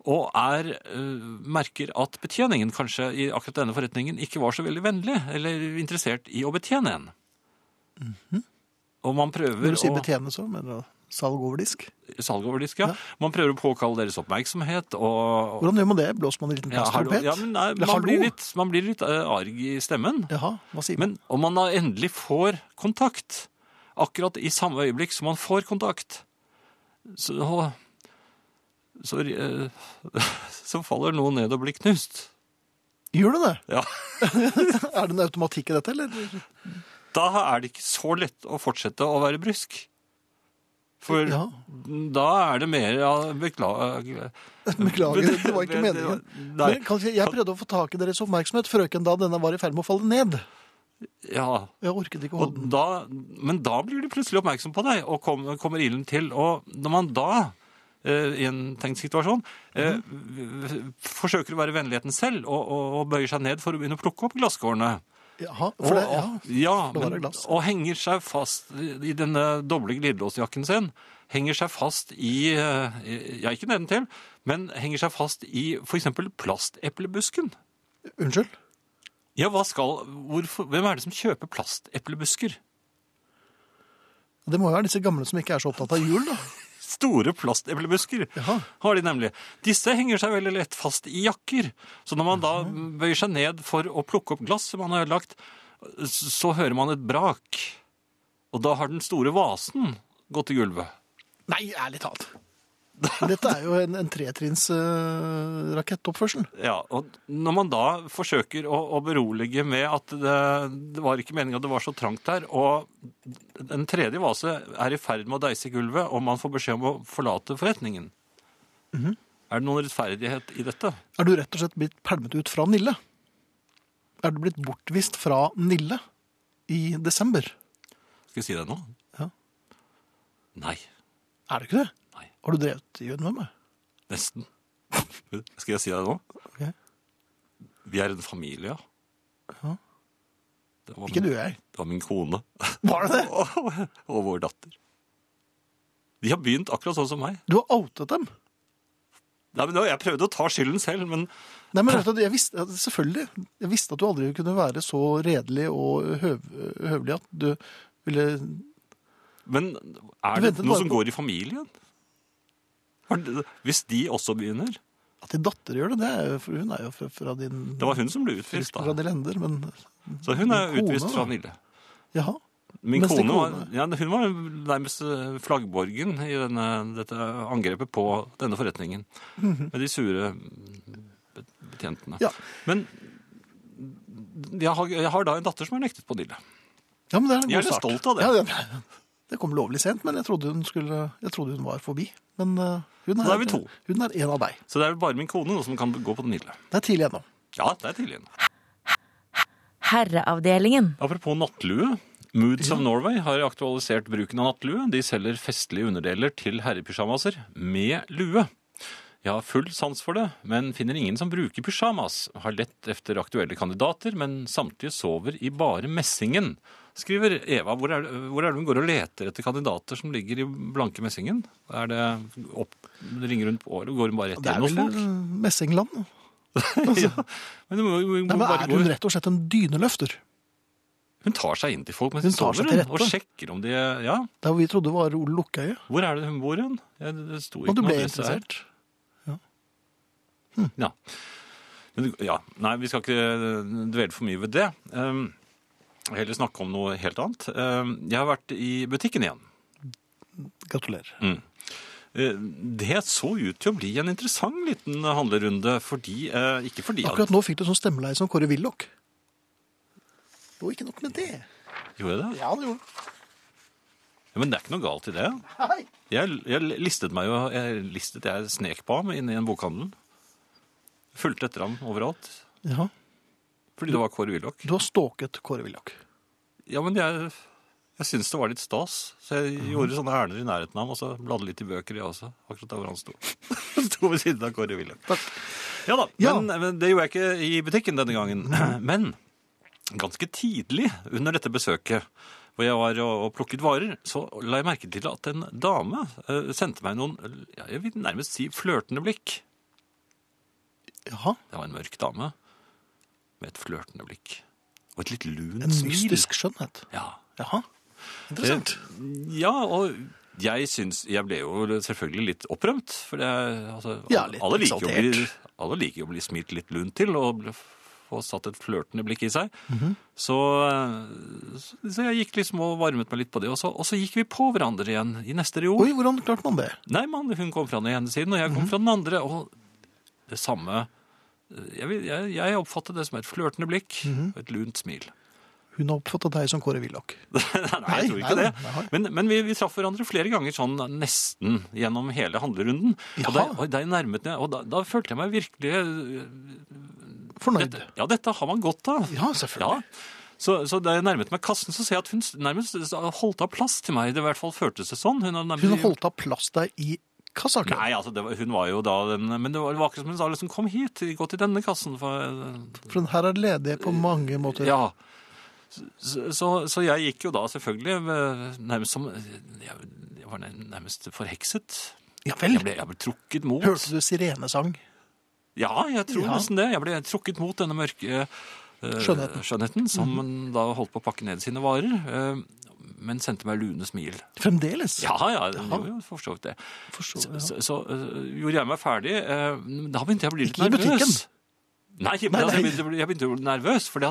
B: og er, eh, merker at betjeningen kanskje i akkurat denne forretningen ikke var så veldig vennlig eller interessert i å betjene en. Og man prøver
A: Mhm. Når du sier
B: å
A: betjene, så mener du salg over disk?
B: salg over disk, ja.
A: Ja.
B: Man prøver å påkalle deres oppmerksomhet og
A: Hvordan gjør man det? Blåser man en liten
B: ja, hallo,
A: plasttrompet?
B: ja, men nei,
A: Eller
B: man, blir
A: hallo?
B: litt, man blir litt eh, arg i stemmen.
A: Jaha, hva sier man?
B: Men om man da endelig får kontakt, akkurat i samme øyeblikk som man får kontakt, så, så, eh, så faller noen ned og blir knust.
A: Gjør du det?
B: Ja,
A: Er det en automatikk i dette, eller?
B: da er det ikke så lett å fortsette å være brysk. For
A: Ja.
B: da er det mer ja, beklager.
A: Beklager, det var ikke meningen.
B: Nei,
A: Men kanskje jeg prøvde å få tak i deres oppmerksomhet, frøken, da denne var i ferd med å falle ned.
B: ja.
A: Jeg orket ikke å
B: Og
A: holde den.
B: da, men da blir de plutselig oppmerksom på deg, og kom, kommer ilden til. Og når man da, eh, i en tenkt situasjon, eh,
A: Mhm.
B: v- forsøker å være vennligheten selv og, og, og bøyer seg ned for å begynne å plukke opp glasskårene
A: Jaha,
B: og,
A: for det, ja.
B: og- ja,
A: Da var det
B: men,
A: glass.
B: og henger seg fast i i denne doble glidelåsjakken sin. Henger seg fast i eh, Ja, ikke nedentil, men henger seg fast i f.eks. plasteplebusken.
A: Unnskyld?
B: Ja, hva skal hvorfor, Hvem er det som kjøper plasteplebusker?
A: Det må jo være disse gamle som ikke er så opptatt av jul, da.
B: Store plasteplebusker
A: Jaha.
B: har de nemlig. Disse henger seg veldig lett fast i jakker. Så når man da bøyer seg ned for å plukke opp glass som man har ødelagt, så hører man et brak. Og da har den store vasen gått i gulvet.
A: Nei, ærlig talt. Dette er jo en, en tretrinns eh, rakettoppførsel.
B: Ja, og når man da forsøker å, å berolige med at det, det var ikke meningen at det var så trangt der, og en tredje vase er i ferd med å deise i gulvet, og man får beskjed om å forlate forretningen. Er det noen rettferdighet i dette?
A: Er du rett og slett blitt pælmet ut fra Nille? Er du blitt bortvist fra Nille i desember?
B: Skal jeg si det nå?
A: Ja.
B: Nei.
A: Er det ikke det?
B: Nei.
A: Har du drevet jøden med meg?
B: Nesten. Skal jeg si det nå?
A: Ok.
B: Vi er en familie.
A: Ja.
B: Det var,
A: Ikke
B: min,
A: du og jeg.
B: det var min kone
A: Var det det?
B: og, og vår datter. De har begynt akkurat sånn som meg.
A: Du har outet dem.
B: Nei, men nå- Jeg prøvde å ta skylden selv, men
A: Nei, men vet du, jeg visste, selvfølgelig, jeg visste at du aldri kunne være så redelig og høv, høvelig at du ville
B: Men
A: Du
B: er det
A: ventet
B: noe
A: bare
B: som
A: på-
B: går i familien? Er det- Hvis de også begynner?
A: At din datter gjør det, det er jo, for hun er jo fra, fra din
B: Det var hun som ble utvist,
A: fra
B: da.
A: din lender, men
B: Så hun er
A: Din kone,
B: utvist
A: da.
B: fra Nille.
A: jaha.
B: Min
A: Mens din
B: kone var,
A: kone-
B: ja, hun var nærmest eh, flaggborgen i denne, dette angrepet på denne forretningen. Med de sure bet- betjentene.
A: Mhm. Ja.
B: Men jeg har, jeg har da en datter som er nektet på Nille.
A: Ja, men det er en
B: Jeg er
A: god
B: litt
A: start.
B: stolt av det.
A: Ja, det, det kom lovlig sent, men jeg trodde hun, skulle, jeg trodde hun var forbi. Men eh, hun,
B: Da
A: er,
B: er vi to.
A: hun er en av deg.
B: Så det er vel bare min kone nå som kan gå på Nille.
A: Det er tidlig ennå.
B: Ja, det er tidlig. inne.
C: Herreavdelingen.
B: Apropos nattlue. Moods of Norway har aktualisert bruken av nattlue. De selger festlige underdeler til herrepysjamaser med lue. Jeg har full sans for det, men finner ingen som bruker pysjamas. Har lett etter aktuelle kandidater, men samtidig sover i bare messingen. Skriver Eva, hvor er, det- hvor er det hun går og leter etter kandidater som ligger i blanke messingen? Er det opp, ringer hun på, eller går hun bare rett
A: Det er
B: inn hos
A: vel
B: folk?
A: eh, Messingland.
B: ja. Men du må, du må
A: Nei, men
B: bare
A: Er
B: gå.
A: hun rett og slett en dyneløfter?
B: Hun tar seg inn til folk mens
A: Hun
B: de
A: tar
B: sover,
A: seg til
B: hun, og
A: rette.
B: sjekker om de Ja,
A: Der hvor vi trodde var Ole Lukkøye.
B: hvor er det hun bor hen? Ja, det- det sto
A: Og
B: ikke
A: du
B: noe
A: ble
B: adresse her.
A: interessert.
B: Ja. Men, ja. Nei, vi skal ikke dvele for mye ved det. Um, heller snakke om noe helt annet. Um, jeg har vært i butikken igjen.
A: Gratulerer.
B: Eh, Det så ut til å bli en interessant liten handlerunde, fordi eh, Ikke fordi at
A: Akkurat nå fikk du sånn stemmeleie som Kåre Willoch. Og ikke nok med det.
B: Gjorde jeg det?
A: Ja, det gjorde
B: Ja, Men det er ikke noe galt i det.
A: Hei.
B: Jeg, jeg listet meg jo jeg listet jeg snek på ham inne i en bokhandel. Fulgte etter ham overalt.
A: Ja,
B: Fordi det var Kåre Willoch.
A: du har stalket Kåre Willoch.
B: Ja, men jeg, jeg syntes det var litt stas. Så jeg gjorde sånne ærender i nærheten av ham, og så bladde litt i bøker, jeg også. Akkurat der hvor han sto. sto ved siden av Kåre Willoch. Ja da,
A: Ja.
B: Men, men det gjorde jeg ikke i butikken denne gangen. Men ganske tidlig under dette besøket, hvor jeg var og og plukket varer, så la jeg merke til at en dame eh, sendte meg noen, ja, jeg vil nærmest si flørtende blikk.
A: Jaha,
B: Det var en mørk dame med et flørtende blikk. Og et litt lunt
A: en
B: smil.
A: mystisk skjønnhet.
B: Ja.
A: Jaha, interessant.
B: ja, og jeg syns Jeg ble jo selvfølgelig litt opprømt, for det er- altså,
A: Ja, litt
B: alle, liker jo å bli,
A: eksaltert.
B: alle liker jo å bli smilt litt lunt til og bli- få satt et flørtende blikk i seg.
A: Mhm.
B: så, eh, så- så jeg gikk liksom og varmet meg litt på det, og så, og så gikk vi på hverandre igjen i neste reol.
A: Oi, Mhm. hvordan klarte man det?
B: Nei, mann, hun kom fra den ene siden, og jeg kom fra den andre. Og det samme eh, Jeg, vil- jeg, jeg oppfattet det som et flørtende blikk
A: Mhm.
B: og et lunt smil.
A: Hun har oppfattet deg som Kåre Willoch.
B: nei, jeg tror
A: Nei, nei,
B: ikke det.
A: nei.
B: Men, men vi, vi traff hverandre flere ganger sånn nesten gjennom hele handlerunden. Og
A: Jaha.
B: der, og der nærmet jeg, og da, da følte jeg meg virkelig øh,
A: Fornøyd.
B: dette, Ja, dette har man godt av.
A: Ja, selvfølgelig.
B: Ja. Så, så da jeg nærmet meg kassen, så ser jeg at hun s- nærmest holdt av plass til meg. Det i hvert fall føltes det sånn. Hun, hadde nærmest-
A: Hun har holdt av plass deg i kassa. ikke sant?
B: Nei, altså, det var, hun var jo da den Men det var, det var ikke som hun sa, liksom, kom hit, gå til denne kassen. For,
A: For her er det ledige på mange måter.
B: ja. Så, så, så jeg gikk jo da selvfølgelig eh, nærmest som Jeg, jeg var nærmest forhekset.
A: Ja vel.
B: Jeg ble, jeg ble trukket mot.
A: Hørte du sirenesang?
B: Ja, jeg tror
A: Ja.
B: nesten det. Jeg ble trukket mot denne mørke eh,
A: Skjønnheten. Mhm.
B: skjønnheten som da holdt på å pakke ned sine varer. eh, men sendte meg lune smil.
A: Fremdeles?
B: Ja, ja, det gjorde jo for så vidt det.
A: Forstår,
B: Så,
A: ja.
B: så, så øh, gjorde jeg meg ferdig. øh, men da begynte jeg å bli litt
A: Ikke i
B: nervøs.
A: butikken?
B: Nei, men
A: Nei,
B: altså,
A: nei.
B: jeg, begynte, å bli- jeg begynte å bli nervøs, for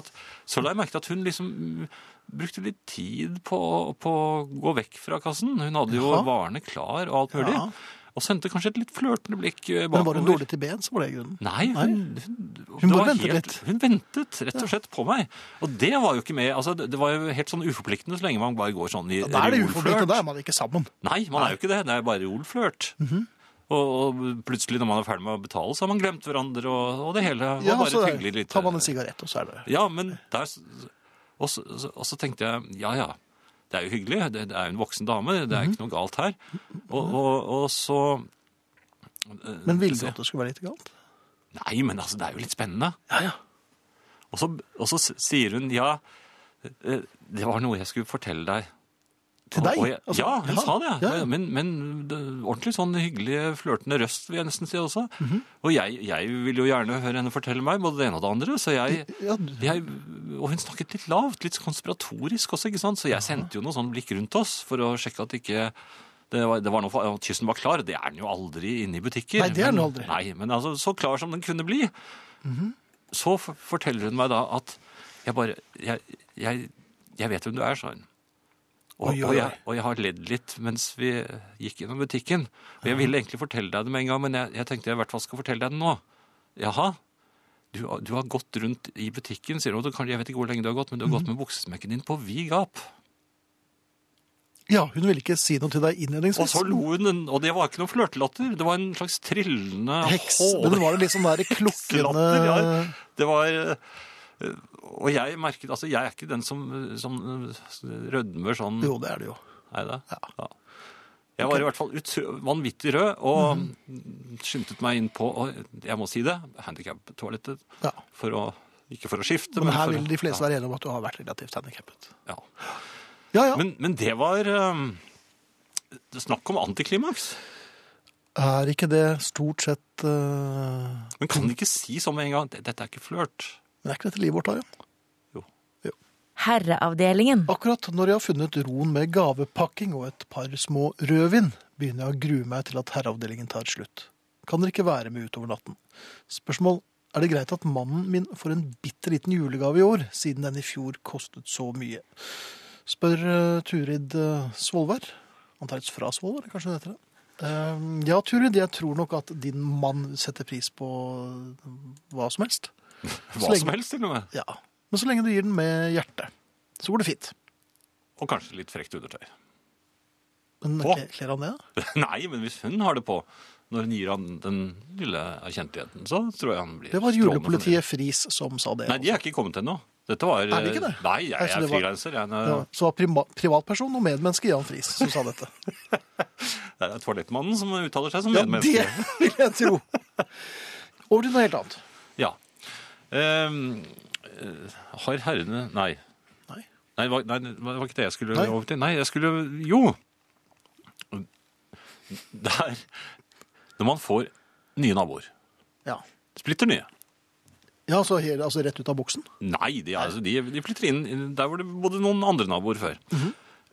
B: så la jeg merke til at hun liksom mm, brukte litt tid på, på å gå vekk fra kassen. Hun hadde jo
A: Jaha.
B: varene klar og alt mulig.
A: Ja.
B: Og sendte kanskje et litt flørtende blikk øh,
A: Men var
B: bakover.
A: hun dårlig til ben, så var det grunnen.
B: Nei, hun, hun,
A: Hun
B: det
A: bare
B: var
A: ventet litt.
B: Hun ventet rett og slett på meg. Og det var jo ikke med altså, Det det var jo helt sånn uforpliktende så lenge man bare går sånn i
A: Da er det
B: reolflørt.
A: uforpliktende, da er man ikke sammen.
B: Nei, man er jo ikke det. Det er bare olflørt.
A: Mhm.
B: og, og plutselig når man er ferdig med å betale, så har man glemt hverandre og, og det hele. Det var
A: Ja,
B: bare
A: så
B: et hyggelig lite-
A: tar man en sigarett, og så er det
B: Ja, men der... s- Og så, så- og så tenkte jeg, ja, ja, det er jo hyggelig. Det, det er jo en voksen dame. Det er ikke noe
A: Mhm.
B: galt her. Og, og, og så... eh,
A: Men ville du
B: så-
A: at det skulle være litt galt?
B: Nei, men altså, det er jo litt spennende.
A: Ja, ja.
B: Og så, og så s- sier hun, ja, eh, det var noe jeg skulle fortelle deg.
A: Til deg?
B: Og jeg,
A: Altså,
B: ja, hun
A: ja,
B: sa det.
A: ja, ja.
B: Men, men det, ordentlig sånn hyggelig flørtende røst, vil jeg nesten si også.
A: Mhm.
B: Og jeg, jeg vil jo gjerne høre henne fortelle meg både det ene og det andre, så jeg,
A: Ja, du-
B: jeg Og hun snakket litt lavt, litt konspiratorisk også, ikke sant? Så jeg sendte jo noen sånne blikk rundt oss for å sjekke at ikke det var, det var noe, for- at kyssen var klar. Det er den jo aldri inne i butikker.
A: Nei, det er den
B: men-
A: aldri. Mhm.
B: Nei, men altså, så klar som den kunne bli. Så f- forteller hun meg da at jeg bare Jeg, jeg, jeg vet hvem du er, sa hun. Og,
A: Oi, oi,
B: og, jeg,
A: oi.
B: og jeg har ledd litt mens vi gikk gjennom butikken. Og jeg ville egentlig fortelle deg det med en gang, men jeg, jeg tenkte jeg i hvert fall skal fortelle deg det nå. Jaha, du, har- du har gått rundt i butikken, sier hun. og du kan- Jeg vet ikke hvor lenge du har gått, men du har
A: Mhm.
B: gått med buksesmekken din på vid gap.
A: ja, hun ville ikke si noe til deg
B: Og
A: innledningsvis.
B: så lo hun, en- og det var ikke noen flørtelatter. Det var en slags trillende
A: Heks.
B: hål-
A: Men var det litt sånn der
B: Skratter, ja.
A: klukkende
B: Det var eh, Og jeg merket Altså, jeg er ikke den som, som eh, rødmer sånn
A: Jo, det er det jo.
B: Er det? Ja. Jeg var i hvert fall ut, vanvittig rød og skyndte meg inn på, og jeg må si det, handikap-toalettet.
A: Ja.
B: For å, ikke for å skifte,
A: Men her
B: for
A: vil
B: å-
A: de fleste være enige om at du har vært relativt handikappet.
B: ja.
A: Ja, ja.
B: um, men, men det var eh, Snakk om antiklimaks.
A: Er ikke det stort sett eh,
B: Men kan de ikke si sånn med en gang? "Det- Dette er ikke flørt.
A: Men er ikke dette livet vårt, da? Ja?
C: Herreavdelingen.
A: Akkurat når jeg har funnet roen med gavepakking og et par små rødvin, begynner jeg å grue meg til at herreavdelingen tar slutt. Kan dere ikke være med utover natten? Spørsmål. Er det greit at mannen min får en bitte liten julegave i år, siden den i fjor kostet så mye? Spør eh, Turid eh, Svolvær. Antakeligvis fra Svolvær, kanskje det heter det. Eh, ja, Turid, jeg tror nok at din mann setter pris på eh, hva som helst. Så
B: Hva
A: lenge-
B: som helst, til og med.
A: Ja, Men så lenge du gir den med hjertet, så går det fint.
B: Og kanskje litt frekt undertøy.
A: Men
B: Å.
A: kler- kler han det, da?
B: Nei, men hvis hun har det på når hun gir han den lille erkjentligheten, så tror jeg han blir
A: Det var
B: strålende
A: julepolitiet Friis som sa det.
B: fornøyd. Nei, de er ikke kommet ennå. Dette var eh,
A: Er de ikke det?
B: Nei, jeg,
A: Er ikke
B: er
A: det var-
B: frilanser. Jeg
A: Det
B: er-
A: var- Så var prima- privatperson og medmenneske Jan Friis som sa dette.
B: Det er toalettmannen som uttaler seg som
A: Ja,
B: medmenneske.
A: det vil jeg tro. Over til noe helt annet.
B: Ja. Ehm, eh, har herrene Nei.
A: Nei.
B: Nei, hva- nei, det var ikke det jeg skulle
A: Nei.
B: over til. Nei, jeg skulle Jo! Det er når man får nye naboer.
A: Ja,
B: Splitter nye.
A: ja så helt, altså rett ut av buksen.
B: Nei, de, er- altså, de, de flytter inn der hvor det bodde noen andre naboer før.
A: Mhm.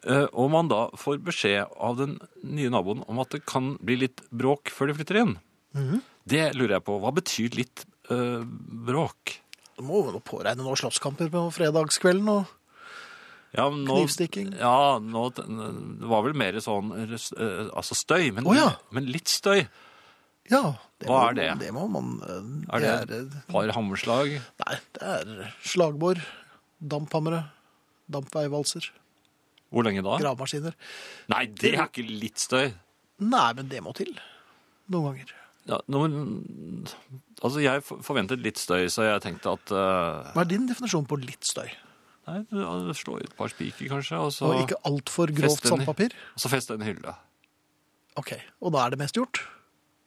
B: Eh, og man da får beskjed av den nye naboen om at det kan bli litt bråk før de flytter inn.
A: Mhm.
B: Det lurer jeg på. Hva betyr litt eh, bråk?
A: Det må jo påregne noen slåsskamper på fredagskvelden. og...
B: Ja, men nå,
A: Knivstikking?
B: Ja, nå, det var vel mer sånn eh, altså støy, men,
A: Å, ja.
B: men litt støy.
A: Ja, det
B: Hva
A: må,
B: er det?
A: Det må man eh,
B: Er det,
A: det er,
B: et par hammerslag?
A: Nei, det er slagbor, damphammere, dampveivalser,
B: Hvor lenge da?
A: gravemaskiner.
B: Nei, det er ikke litt støy.
A: Nei, men det må til. Noen ganger.
B: Ja, nå, men, altså, jeg for- forventet litt støy, så jeg tenkte at eh,
A: Hva er din definisjon på litt støy?
B: Nei, du, ja, slå i et par spiker kanskje, og så,
A: Og ikke altfor grovt
B: Feste den i-
A: sandpapir?
B: og så feste en hylle.
A: Ok, og da er det mest gjort?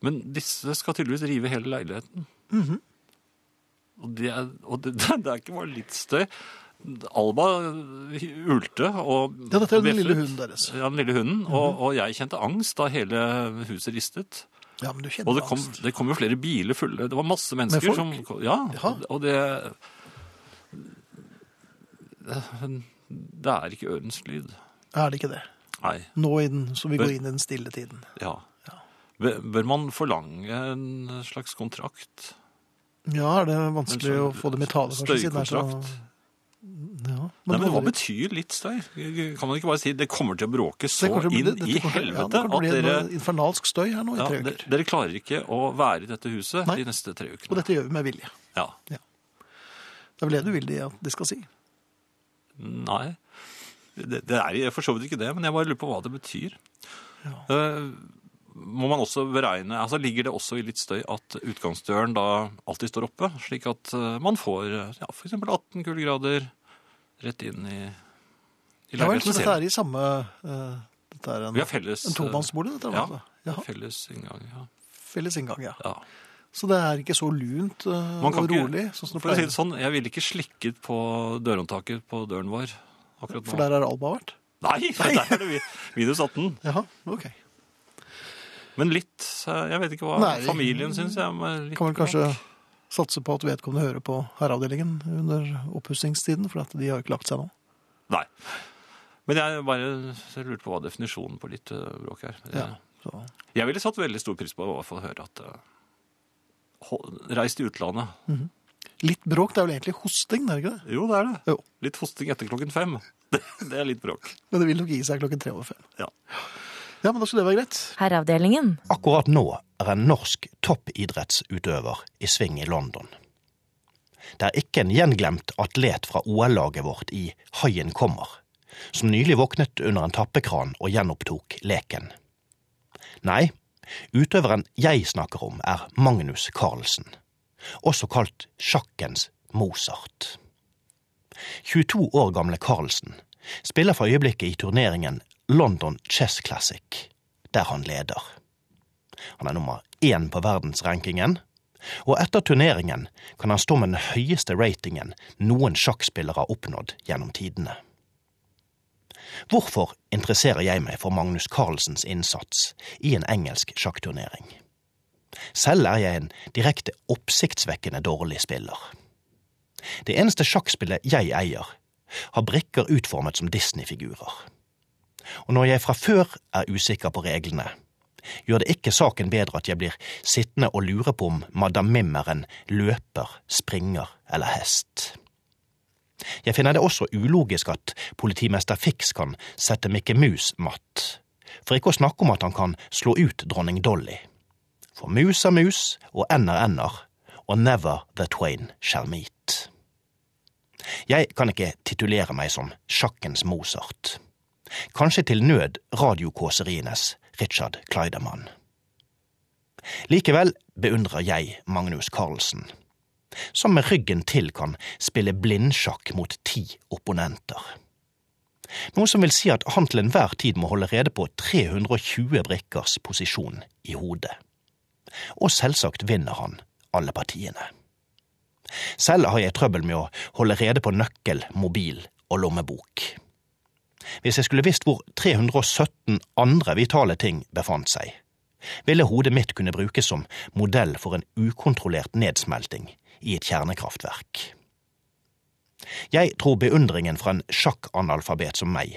B: Men disse skal tydeligvis rive hele leiligheten.
A: Mhm.
B: Og, det er, og det, det er ikke bare litt støy. Alba ulte og
A: Ja, dette er den
B: bjeffet.
A: lille Mhm. hunden deres.
B: Ja, den lille hunden. Og, og jeg kjente angst da hele huset ristet.
A: Ja, men du kjenner
B: Og det kom,
A: angst.
B: det kom jo flere biler fulle. Det var masse mennesker
A: folk?
B: som kom- Ja.
A: Jaha.
B: Og det Det er ikke ørens lyd.
A: Er det ikke det?
B: Nei.
A: Nå i den, så vi
B: Men-
A: går inn i den stille tiden.
B: Ja. Bør bør man forlange en slags kontrakt?
A: Ja, er det vanskelig å få dem i tale, kanskje, siden det er så
B: sånn Støykontrakt?
A: ja.
B: Nei, men Hva
A: aldri-
B: betyr litt støy? Kan man ikke bare si det kommer til å bråke så
A: Det kommer til å bli-
B: inn
A: dette
B: i
A: kommer til- ja,
B: helvete
A: det kommer til
B: at
A: å bli
B: dere,
A: noe Infernalsk støy her nå i
B: ja,
A: tre
B: de-
A: uker.
B: dere klarer ikke å være i dette huset
A: Nei.
B: de neste tre
A: Og
B: ukene?
A: dette gjør vi med vilje.
B: Ja.
A: Det er vel det du vil de, at de skal si.
B: Nei. Det, det er for så vidt ikke det, men jeg bare lurer på hva det betyr. Eh, må man også beregne, altså Ligger det også i litt støy at utgangsdøren da alltid står oppe, slik at eh, man får eh, ja, f.eks. 18 kuldegrader rett inn i, i
A: Ja vel, så dette
B: leiligheten?
A: er i samme eh, Dette er en,
B: Vi har felles
A: en tomannsbolig, dette. er
B: ja,
A: altså. Jaha,
B: felles inngang. Ja.
A: felles inngang, ja.
B: ja.
A: Så det er ikke så lunt eh,
B: Man kan
A: og
B: ikke-
A: rolig. sånn som det
B: For å si
A: pleier.
B: det sånn, jeg ville ikke slikket på dørhåndtaket på døren vår akkurat nå.
A: For der har Alba vært?
B: Nei, der er det vi- minus 18.
A: Jaha, ok.
B: Men litt eh, Jeg vet ikke hva
A: Nei.
B: familien syns. Jeg, men litt
A: Kan vel
B: bra.
A: kanskje satse på at vedkommende hører på herreavdelingen under oppussingstiden, for at de har jo ikke lagt seg nå.
B: Nei. Men jeg bare jeg lurte på hva definisjonen på litt eh, bråk er.
A: Ja.
B: Eh,
A: Så.
B: Jeg ville satt veldig stor pris på å få høre at eh, ho- Reis til utlandet.
A: Litt bråk, det er vel egentlig hosting, det er ikke det?
B: Jo, det er det.
A: Jo,
B: Litt hosting etter klokken fem. Det, det er litt bråk.
A: men det vil nok gi seg klokken tre over fem.
B: Ja.
A: Ja, men da skulle det være greit.
C: Herreavdelingen.
D: Akkurat nå er en norsk toppidrettsutøver i sving i London. Det er ikke en gjenglemt atlet fra OL-laget vårt i Haien kommer, som nylig våknet under en tappekran og gjenopptok leken. Nei, utøveren jeg snakker om er Magnus Carlsen, også kalt sjakkens Mozart. 22 år gamle Carlsen spiller for øyeblikket i turneringen London Chess Classic, der han leder. Han er nummer én på verdensrankingen. Og etter turneringen kan han stå med den høyeste ratingen noen sjakkspillere har oppnådd gjennom tidene. Hvorfor interesserer jeg meg for Magnus Carlsens innsats i en engelsk sjakkturnering? Selv er jeg en direkte oppsiktsvekkende dårlig spiller. Det eneste sjakkspillet jeg eier, har brikker utformet som Disney-figurer. Og når jeg fra før er usikker på reglene, gjør det ikke saken bedre at jeg blir sittende og lure på om Madam Mim er en løper, springer eller hest. Jeg finner det også ulogisk at politimester Fix kan sette Mikke Mus matt, for ikke å snakke om at han kan slå ut dronning Dolly. For mus er mus, og n er n-er, og never the twain shall meet. Jeg kan ikke titulere meg som sjakkens Mozart. Kanskje til nød radiokåserienes Richard Kleidermann. Likevel beundrer jeg Magnus Carlsen, som med ryggen til kan spille blindsjakk mot ti opponenter. Noe som vil si at han til enhver tid må holde rede på 320 brikkers posisjon i hodet. Og selvsagt vinner han alle partiene. Selv har jeg trøbbel med å holde rede på nøkkel, mobil og lommebok. Hvis jeg skulle visst hvor 317 andre vitale ting befant seg, ville hodet mitt kunne brukes som modell for en ukontrollert nedsmelting i et kjernekraftverk. Jeg tror beundringen fra en sjakkanalfabet som meg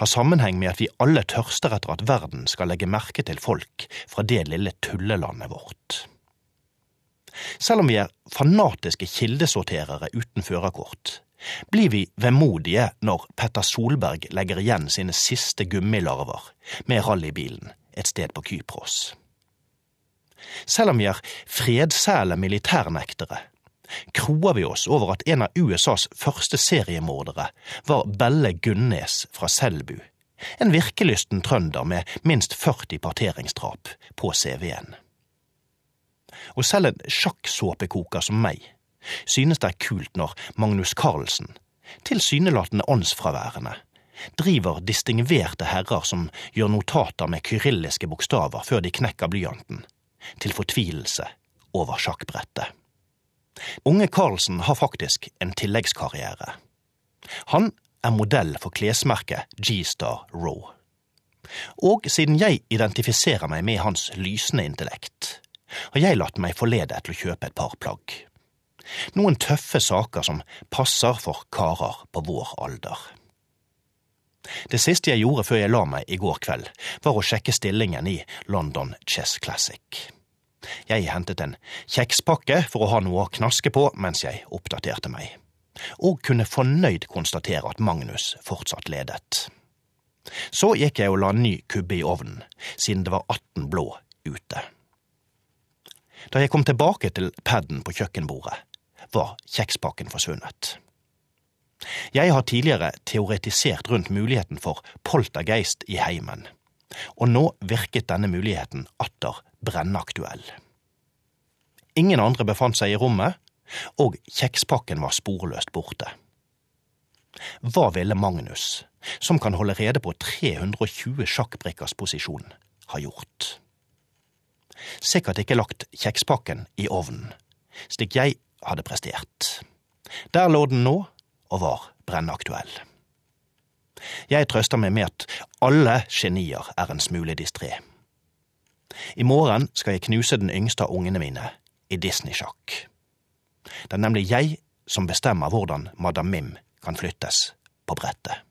D: har sammenheng med at vi alle tørster etter at verden skal legge merke til folk fra det lille tullelandet vårt. Selv om vi er fanatiske kildesorterere uten førerkort, blir vi vemodige når Petter Solberg legger igjen sine siste gummilarver med rallybilen et sted på Kypros. Selv om vi er fredsæle militærnektere, kroer vi oss over at en av USAs første seriemordere var Belle Gunnes fra Selbu, en virkelysten trønder med minst 40 parteringsdrap på CV-en. Og selv en sjakksåpekoker som meg synes det er kult når Magnus Carlsen, tilsynelatende åndsfraværende, driver distingverte herrer som gjør notater med kyrilliske bokstaver før de knekker blyanten, til fortvilelse over sjakkbrettet. Unge Carlsen har faktisk en tilleggskarriere. Han er modell for klesmerket G-Star Raw. Og siden jeg identifiserer meg med hans lysende intellekt, har jeg latt meg forlede til å kjøpe et par plagg noen tøffe saker som passer for karer på vår alder. Det siste jeg gjorde før jeg la meg i går kveld, var å sjekke stillingen i London Chess Classic. Jeg hentet en kjekspakke for å ha noe å knaske på mens jeg oppdaterte meg, og kunne fornøyd konstatere at Magnus fortsatt ledet. Så gikk jeg og la en ny kubbe i ovnen, siden det var 18 blå ute. Da jeg kom tilbake til paden på kjøkkenbordet, var kjekspakken forsvunnet. Jeg har tidligere teoretisert rundt muligheten for poltergeist i heimen, og nå virket denne muligheten atter brennaktuell. Ingen andre befant seg i rommet, og kjekspakken var sporløst borte. Hva ville Magnus, som kan holde rede på 320 sjakkbrikkers posisjon, ha gjort? Sikkert ikke lagt kjekspakken i ovnen, slik jeg hadde prestert. Der lå den nå, og var brennaktuell. Jeg trøster meg med at alle genier er en smule distré. I morgen skal jeg knuse den yngste av ungene mine i Disney-sjakk. Det er nemlig jeg som bestemmer hvordan Madam Mim kan flyttes på brettet.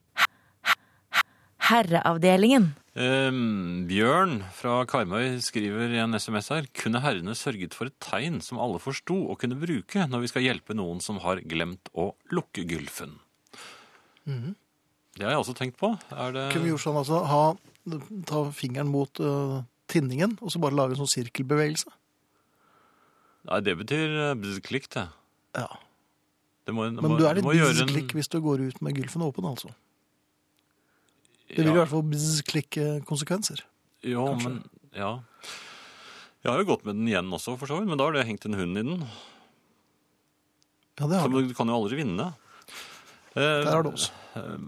C: Herreavdelingen.
B: Ehm, Bjørn fra Karmøy skriver i en SMS her Kunne herrene sørget for et tegn som alle forsto og kunne bruke når vi skal hjelpe noen som har glemt å lukke gylfen? Det har jeg også tenkt på. Er det
A: Mhm. Kunne vi gjort sånn, altså, ha, ta fingeren mot øh, tinningen, og så bare lage en sånn sirkelbevegelse?
B: Nei, det betyr eh, bzzklikk, det.
A: Ja.
B: det må, det
A: Men
B: må,
A: du er litt
B: må gjøre en-
A: bzzz-klikk hvis du går ut med gylfen åpen, altså. Det vil i
B: Ja.
A: hvert fall bzzz-klikk-konsekvenser.
B: Jo,
A: Kanskje.
B: men ja. Jeg har jo gått med den igjen også, for så vidt, men da har det hengt en hund i den.
A: Ja, det
B: Så
A: har du.
B: du kan jo aldri vinne. Eh,
A: Der har du også.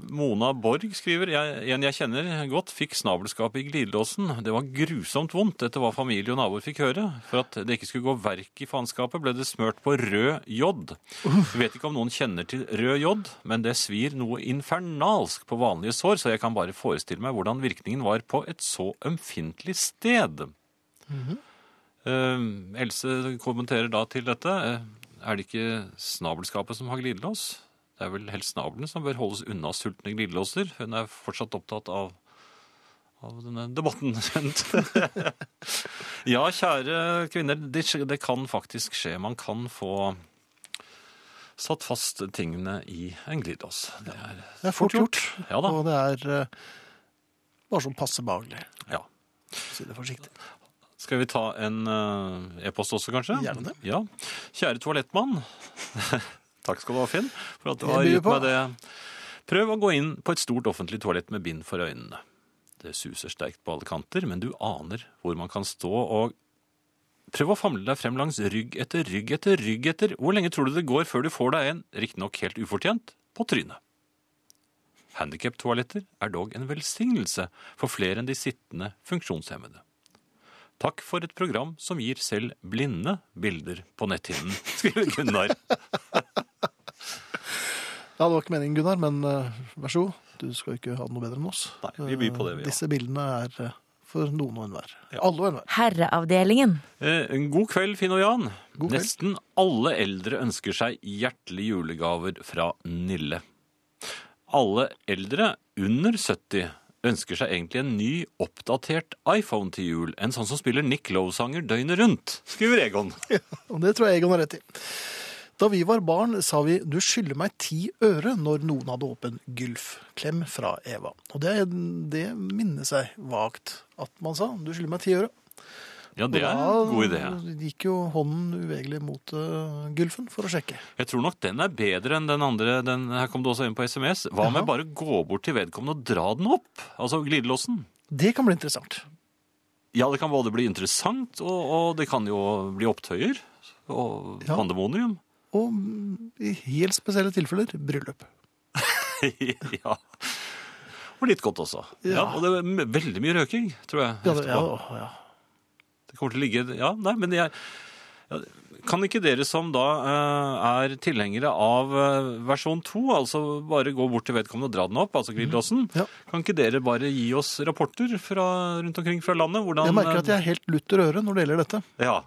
B: Mona Borg skriver jeg, En jeg kjenner godt fikk snabelskapet i glidelåsen. Det var grusomt vondt. Dette var familie og naboer fikk høre. For at det ikke skulle gå verk i faenskapet, ble det smørt på rød jod. Vet ikke om noen kjenner til rød jod, men det svir noe infernalsk på vanlige sår, så jeg kan bare forestille meg hvordan virkningen var på et så ømfintlig sted. Eh, Else kommenterer da til dette. eh, Er det ikke snabelskapet som har glidelås? Det er vel helst snabelen som bør holdes unna sultne glidelåser. Hun er fortsatt opptatt av, av denne debatten. kjent. ja, kjære kvinner, det, skj- det kan faktisk skje. Man kan få satt fast tingene i en glidelås. Det er,
A: Det er fort gjort.
B: Ja da.
A: Og det er eh, bare sånn passe behagelig,
B: Ja.
A: for å si det forsiktig.
B: Skal vi ta en eh, e-post også, kanskje?
A: Gjerne det.
B: Ja. Kjære toalettmann. Takk skal du ha, Finn, for at du
A: Det
B: har
A: byr
B: gitt
A: på.
B: meg det. Prøv å gå inn på et stort offentlig toalett med bind for øynene. Det suser sterkt på alle kanter, men du aner hvor man kan stå og Prøv å famle deg frem langs rygg etter rygg etter rygg etter. Hvor lenge tror du det går før du får deg en, riktignok helt ufortjent, på trynet? Handikaptoaletter er dog en velsignelse for flere enn de sittende funksjonshemmede. Takk for et program som gir selv blinde bilder på netthinnen, skriver Gunnar.
A: Ja, det var ikke meningen, Gunnar, men eh, vær så god. Du skal jo ikke ha det noe bedre enn oss.
B: Nei, vi byr på det, vi, ja.
A: Disse bildene er eh, for noen og enhver. Alle og enhver.
C: Herreavdelingen.
B: Eh, God kveld, Finn og Jan.
A: God kveld.
B: Nesten alle eldre ønsker seg hjertelige julegaver fra Nille. Alle eldre under 70 ønsker seg egentlig en ny, oppdatert iPhone til jul. En sånn som spiller Nick Lowe-sanger døgnet rundt, skriver Egon.
A: Og det tror jeg Egon har rett i. Da vi var barn, sa vi 'du skylder meg ti øre' når noen hadde åpen gylf. Klem fra Eva. Og det, det minnes jeg vagt at man sa. 'Du skylder meg ti øre'.
B: Ja,
A: Og
B: det er en god idé.
A: Da gikk jo hånden uvegerlig mot eh, gylfen for å sjekke.
B: Jeg tror nok den er bedre enn den andre. Den, her kom det også inn på SMS. Hva med bare gå bort til vedkommende og dra den opp? Altså glidelåsen.
A: Det kan bli interessant.
B: Ja, det kan både bli interessant, og, og det kan jo bli opptøyer. Og
A: Ja.
B: pandemonium.
A: Og mm, i helt spesielle tilfeller bryllup.
B: ja. Og litt godt også. Ja.
A: Ja.
B: og det er m- veldig mye røking, tror jeg.
A: Ja, det, ja,
B: etterpå.
A: ja.
B: Det kommer til å ligge Ja, nei, men jeg ja, Kan ikke dere som da eh, er tilhengere av eh, versjon 2, altså bare gå bort til vedkommende og dra den opp, altså glidelåsen,
A: Mhm. Ja.
B: kan ikke dere bare gi oss rapporter fra, rundt omkring fra landet? Hvordan, eh,
A: Jeg merker at jeg er helt lutter øre når det gjelder dette.
B: Ja.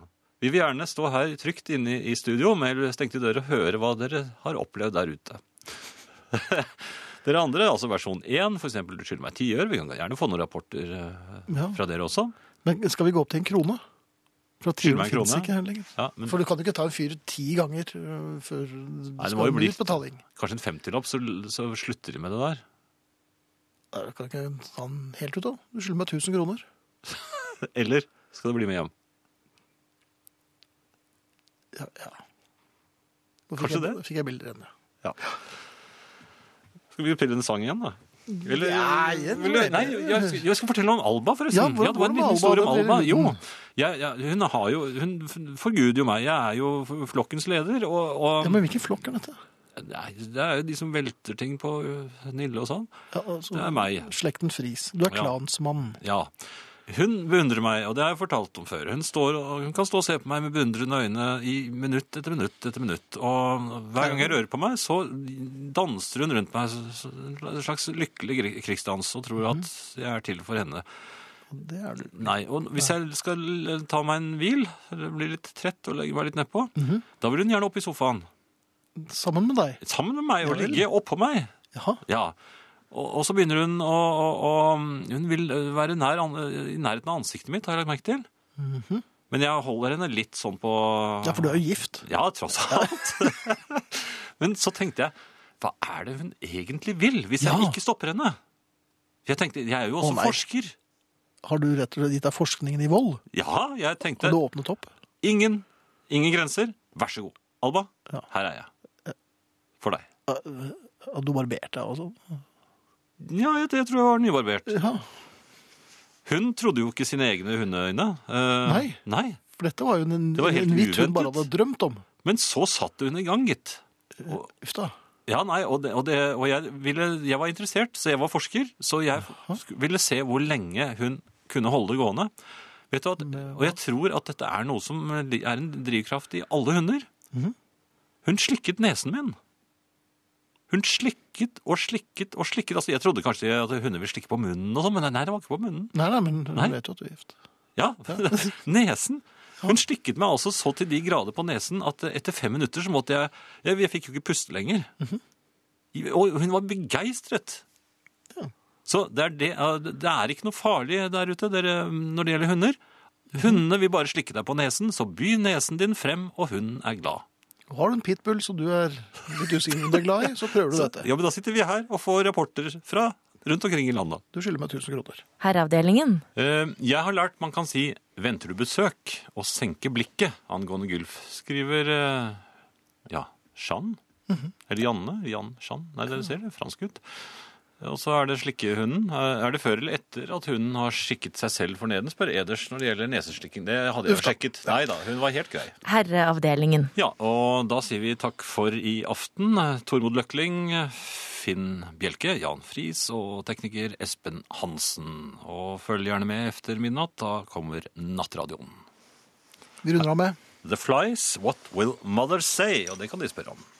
B: Vi vil gjerne stå her trygt inne i studio med stengte dører og høre hva dere har opplevd der ute. dere andre, altså versjon 1, for eksempel du skylder meg 10 øre, vi kan gjerne få noen rapporter eh,
A: Ja.
B: fra dere også.
A: Men skal vi gå opp til en krone? For at
B: Skyld meg
A: tiuren
B: en
A: finnes
B: krone.
A: ikke her lenger.
B: Ja, men
A: For du kan jo ikke ta en fyr ti ganger øh, før Nei,
B: må jo bli-
A: betaling.
B: kanskje en femtilapp, så, så slutter de med det der.
A: Nei, Du kan ikke ta den helt ut, da. Du skylder meg 1000 kroner.
B: Eller skal du bli med hjem?
A: Ja, ja. Da fikk
B: Kanskje
A: jeg,
B: det?
A: da Fikk jeg bilder igjen, ja.
B: Skal vi spille en sang igjen, da? Eller,
A: Ja, jeg-
B: vil du- nei, jeg, skal, jeg skal fortelle om Alba, forresten.
A: Ja,
B: Ja,
A: hvor-
B: det var en
A: hvordan var
B: liten historie om
A: Alba?
B: Alba.
A: Det-
B: Jo, jeg, jeg, hun, har jo, hun f- forguder jo meg. Jeg er jo f- flokkens leder. Og, og
A: ja. Men hvilken flokk er dette?
B: nei, det er jo de som velter ting på ø, Nille og sånn.
A: Ja, altså,
B: Det er meg.
A: Slekten Friis. Du er
B: Ja.
A: klansmann.
B: Ja. Hun beundrer meg, og det har jeg fortalt om før. Hun, står, og hun kan stå og se på meg med beundrende øyne i minutt etter minutt etter minutt. Og hver gang jeg rører på meg, så danser hun rundt meg så- så- en slags lykkelig kri- krigsdans og tror at jeg er til for henne.
A: Og Det er du.
B: Nei, og hvis jeg skal l- ta meg en hvil, eller bli litt trett og legge meg litt nedpå,
A: Mhm.
B: da vil hun gjerne opp i sofaen.
A: Sammen med deg.
B: Sammen med meg og
A: Ja vel.
B: ligge oppå meg.
A: Jaha.
B: Ja. Og, og så begynner hun å, å, å Hun vil ø, være nær, an- i nærheten av ansiktet mitt, har jeg lagt merke til. Men jeg holder henne litt sånn på
A: Mhm. Ja, for du er jo gift.
B: Ja, tross alt. Men så tenkte jeg hva er det hun egentlig vil, hvis jeg
A: Ja.
B: ikke stopper henne? Jeg tenkte, jeg er jo også
A: nei.
B: forsker.
A: Har du rett og slett gitt deg forskningen i vold?
B: Ja, jeg
A: Har
B: tenkte
A: du åpnet opp?
B: ingen, ingen grenser. Vær så god. Alba,
A: Ja.
B: her er jeg. For deg.
A: Ja, øh, Har du barbert deg og sånn?
B: Ja, jeg, jeg tror jeg var nybarbert.
A: Ja.
B: Hun trodde jo ikke sine egne hundeøyne. Eh,
A: Nei. For dette var jo en,
B: Det var helt
A: en hvitt hun bare
B: uventet.
A: hadde drømt om.
B: Men så satte hun i gang, gitt. Og,
A: Uff da.
B: Ja, nei, og, det, og, det, og jeg, ville, jeg var interessert, så jeg var forsker, så jeg sk- ville se hvor lenge hun kunne holde det gående. Vet du at, og jeg tror at dette er noe som li- er en drivkraft i alle hunder. Hun slikket nesen min. Hun slikket og slikket og slikket. Altså, jeg trodde kanskje at hunder ville slikke på munnen, og sånn, men nei, det var ikke på munnen.
A: Nei, nei, men hun
B: Nei.
A: vet jo at du er gift.
B: Ja, nesen. Hun slikket meg altså så til de grader på nesen at etter fem minutter så måtte jeg Jeg, jeg fikk jo ikke puste lenger. Og hun var begeistret. Så det er, det, ja, det er ikke noe farlig der ute dere, når det gjelder hunder. Hundene vil bare slikke deg på nesen, så by nesen din frem, og hunden er glad.
A: Har du en pitbull som du er litt usikker om du er glad i, så prøver du dette.
B: Ja, men Da sitter vi her og får rapporter fra rundt omkring i landet.
A: Du skylder meg 1000 kroner.
C: Herreavdelingen.
B: Eh, Jeg har lært man kan si 'venter du besøk' og senke blikket angående Gulf, skriver eh, ja, Jeanne.
A: Mhm.
B: Eller Janne. Jan Jeanne. Nei, dere ser det, fransk ut. Og så er det slikkehunden. Eh, Er det før eller etter at hunden har skikket seg selv forneden, spør Eders når det gjelder neseslikking. Det hadde jeg
A: Uff da.
B: sjekket. Nei da, hun var helt grei.
C: Herreavdelingen.
B: Ja, og da sier vi takk for i aften. Tormod Løkling, Finn Bjelke, Jan Friis og tekniker Espen Hansen. Og følg gjerne med efter midnatt, da kommer nattradioen.
A: Vi runder av med
B: The Flies, What Will Mother Say? Og det kan de spørre om.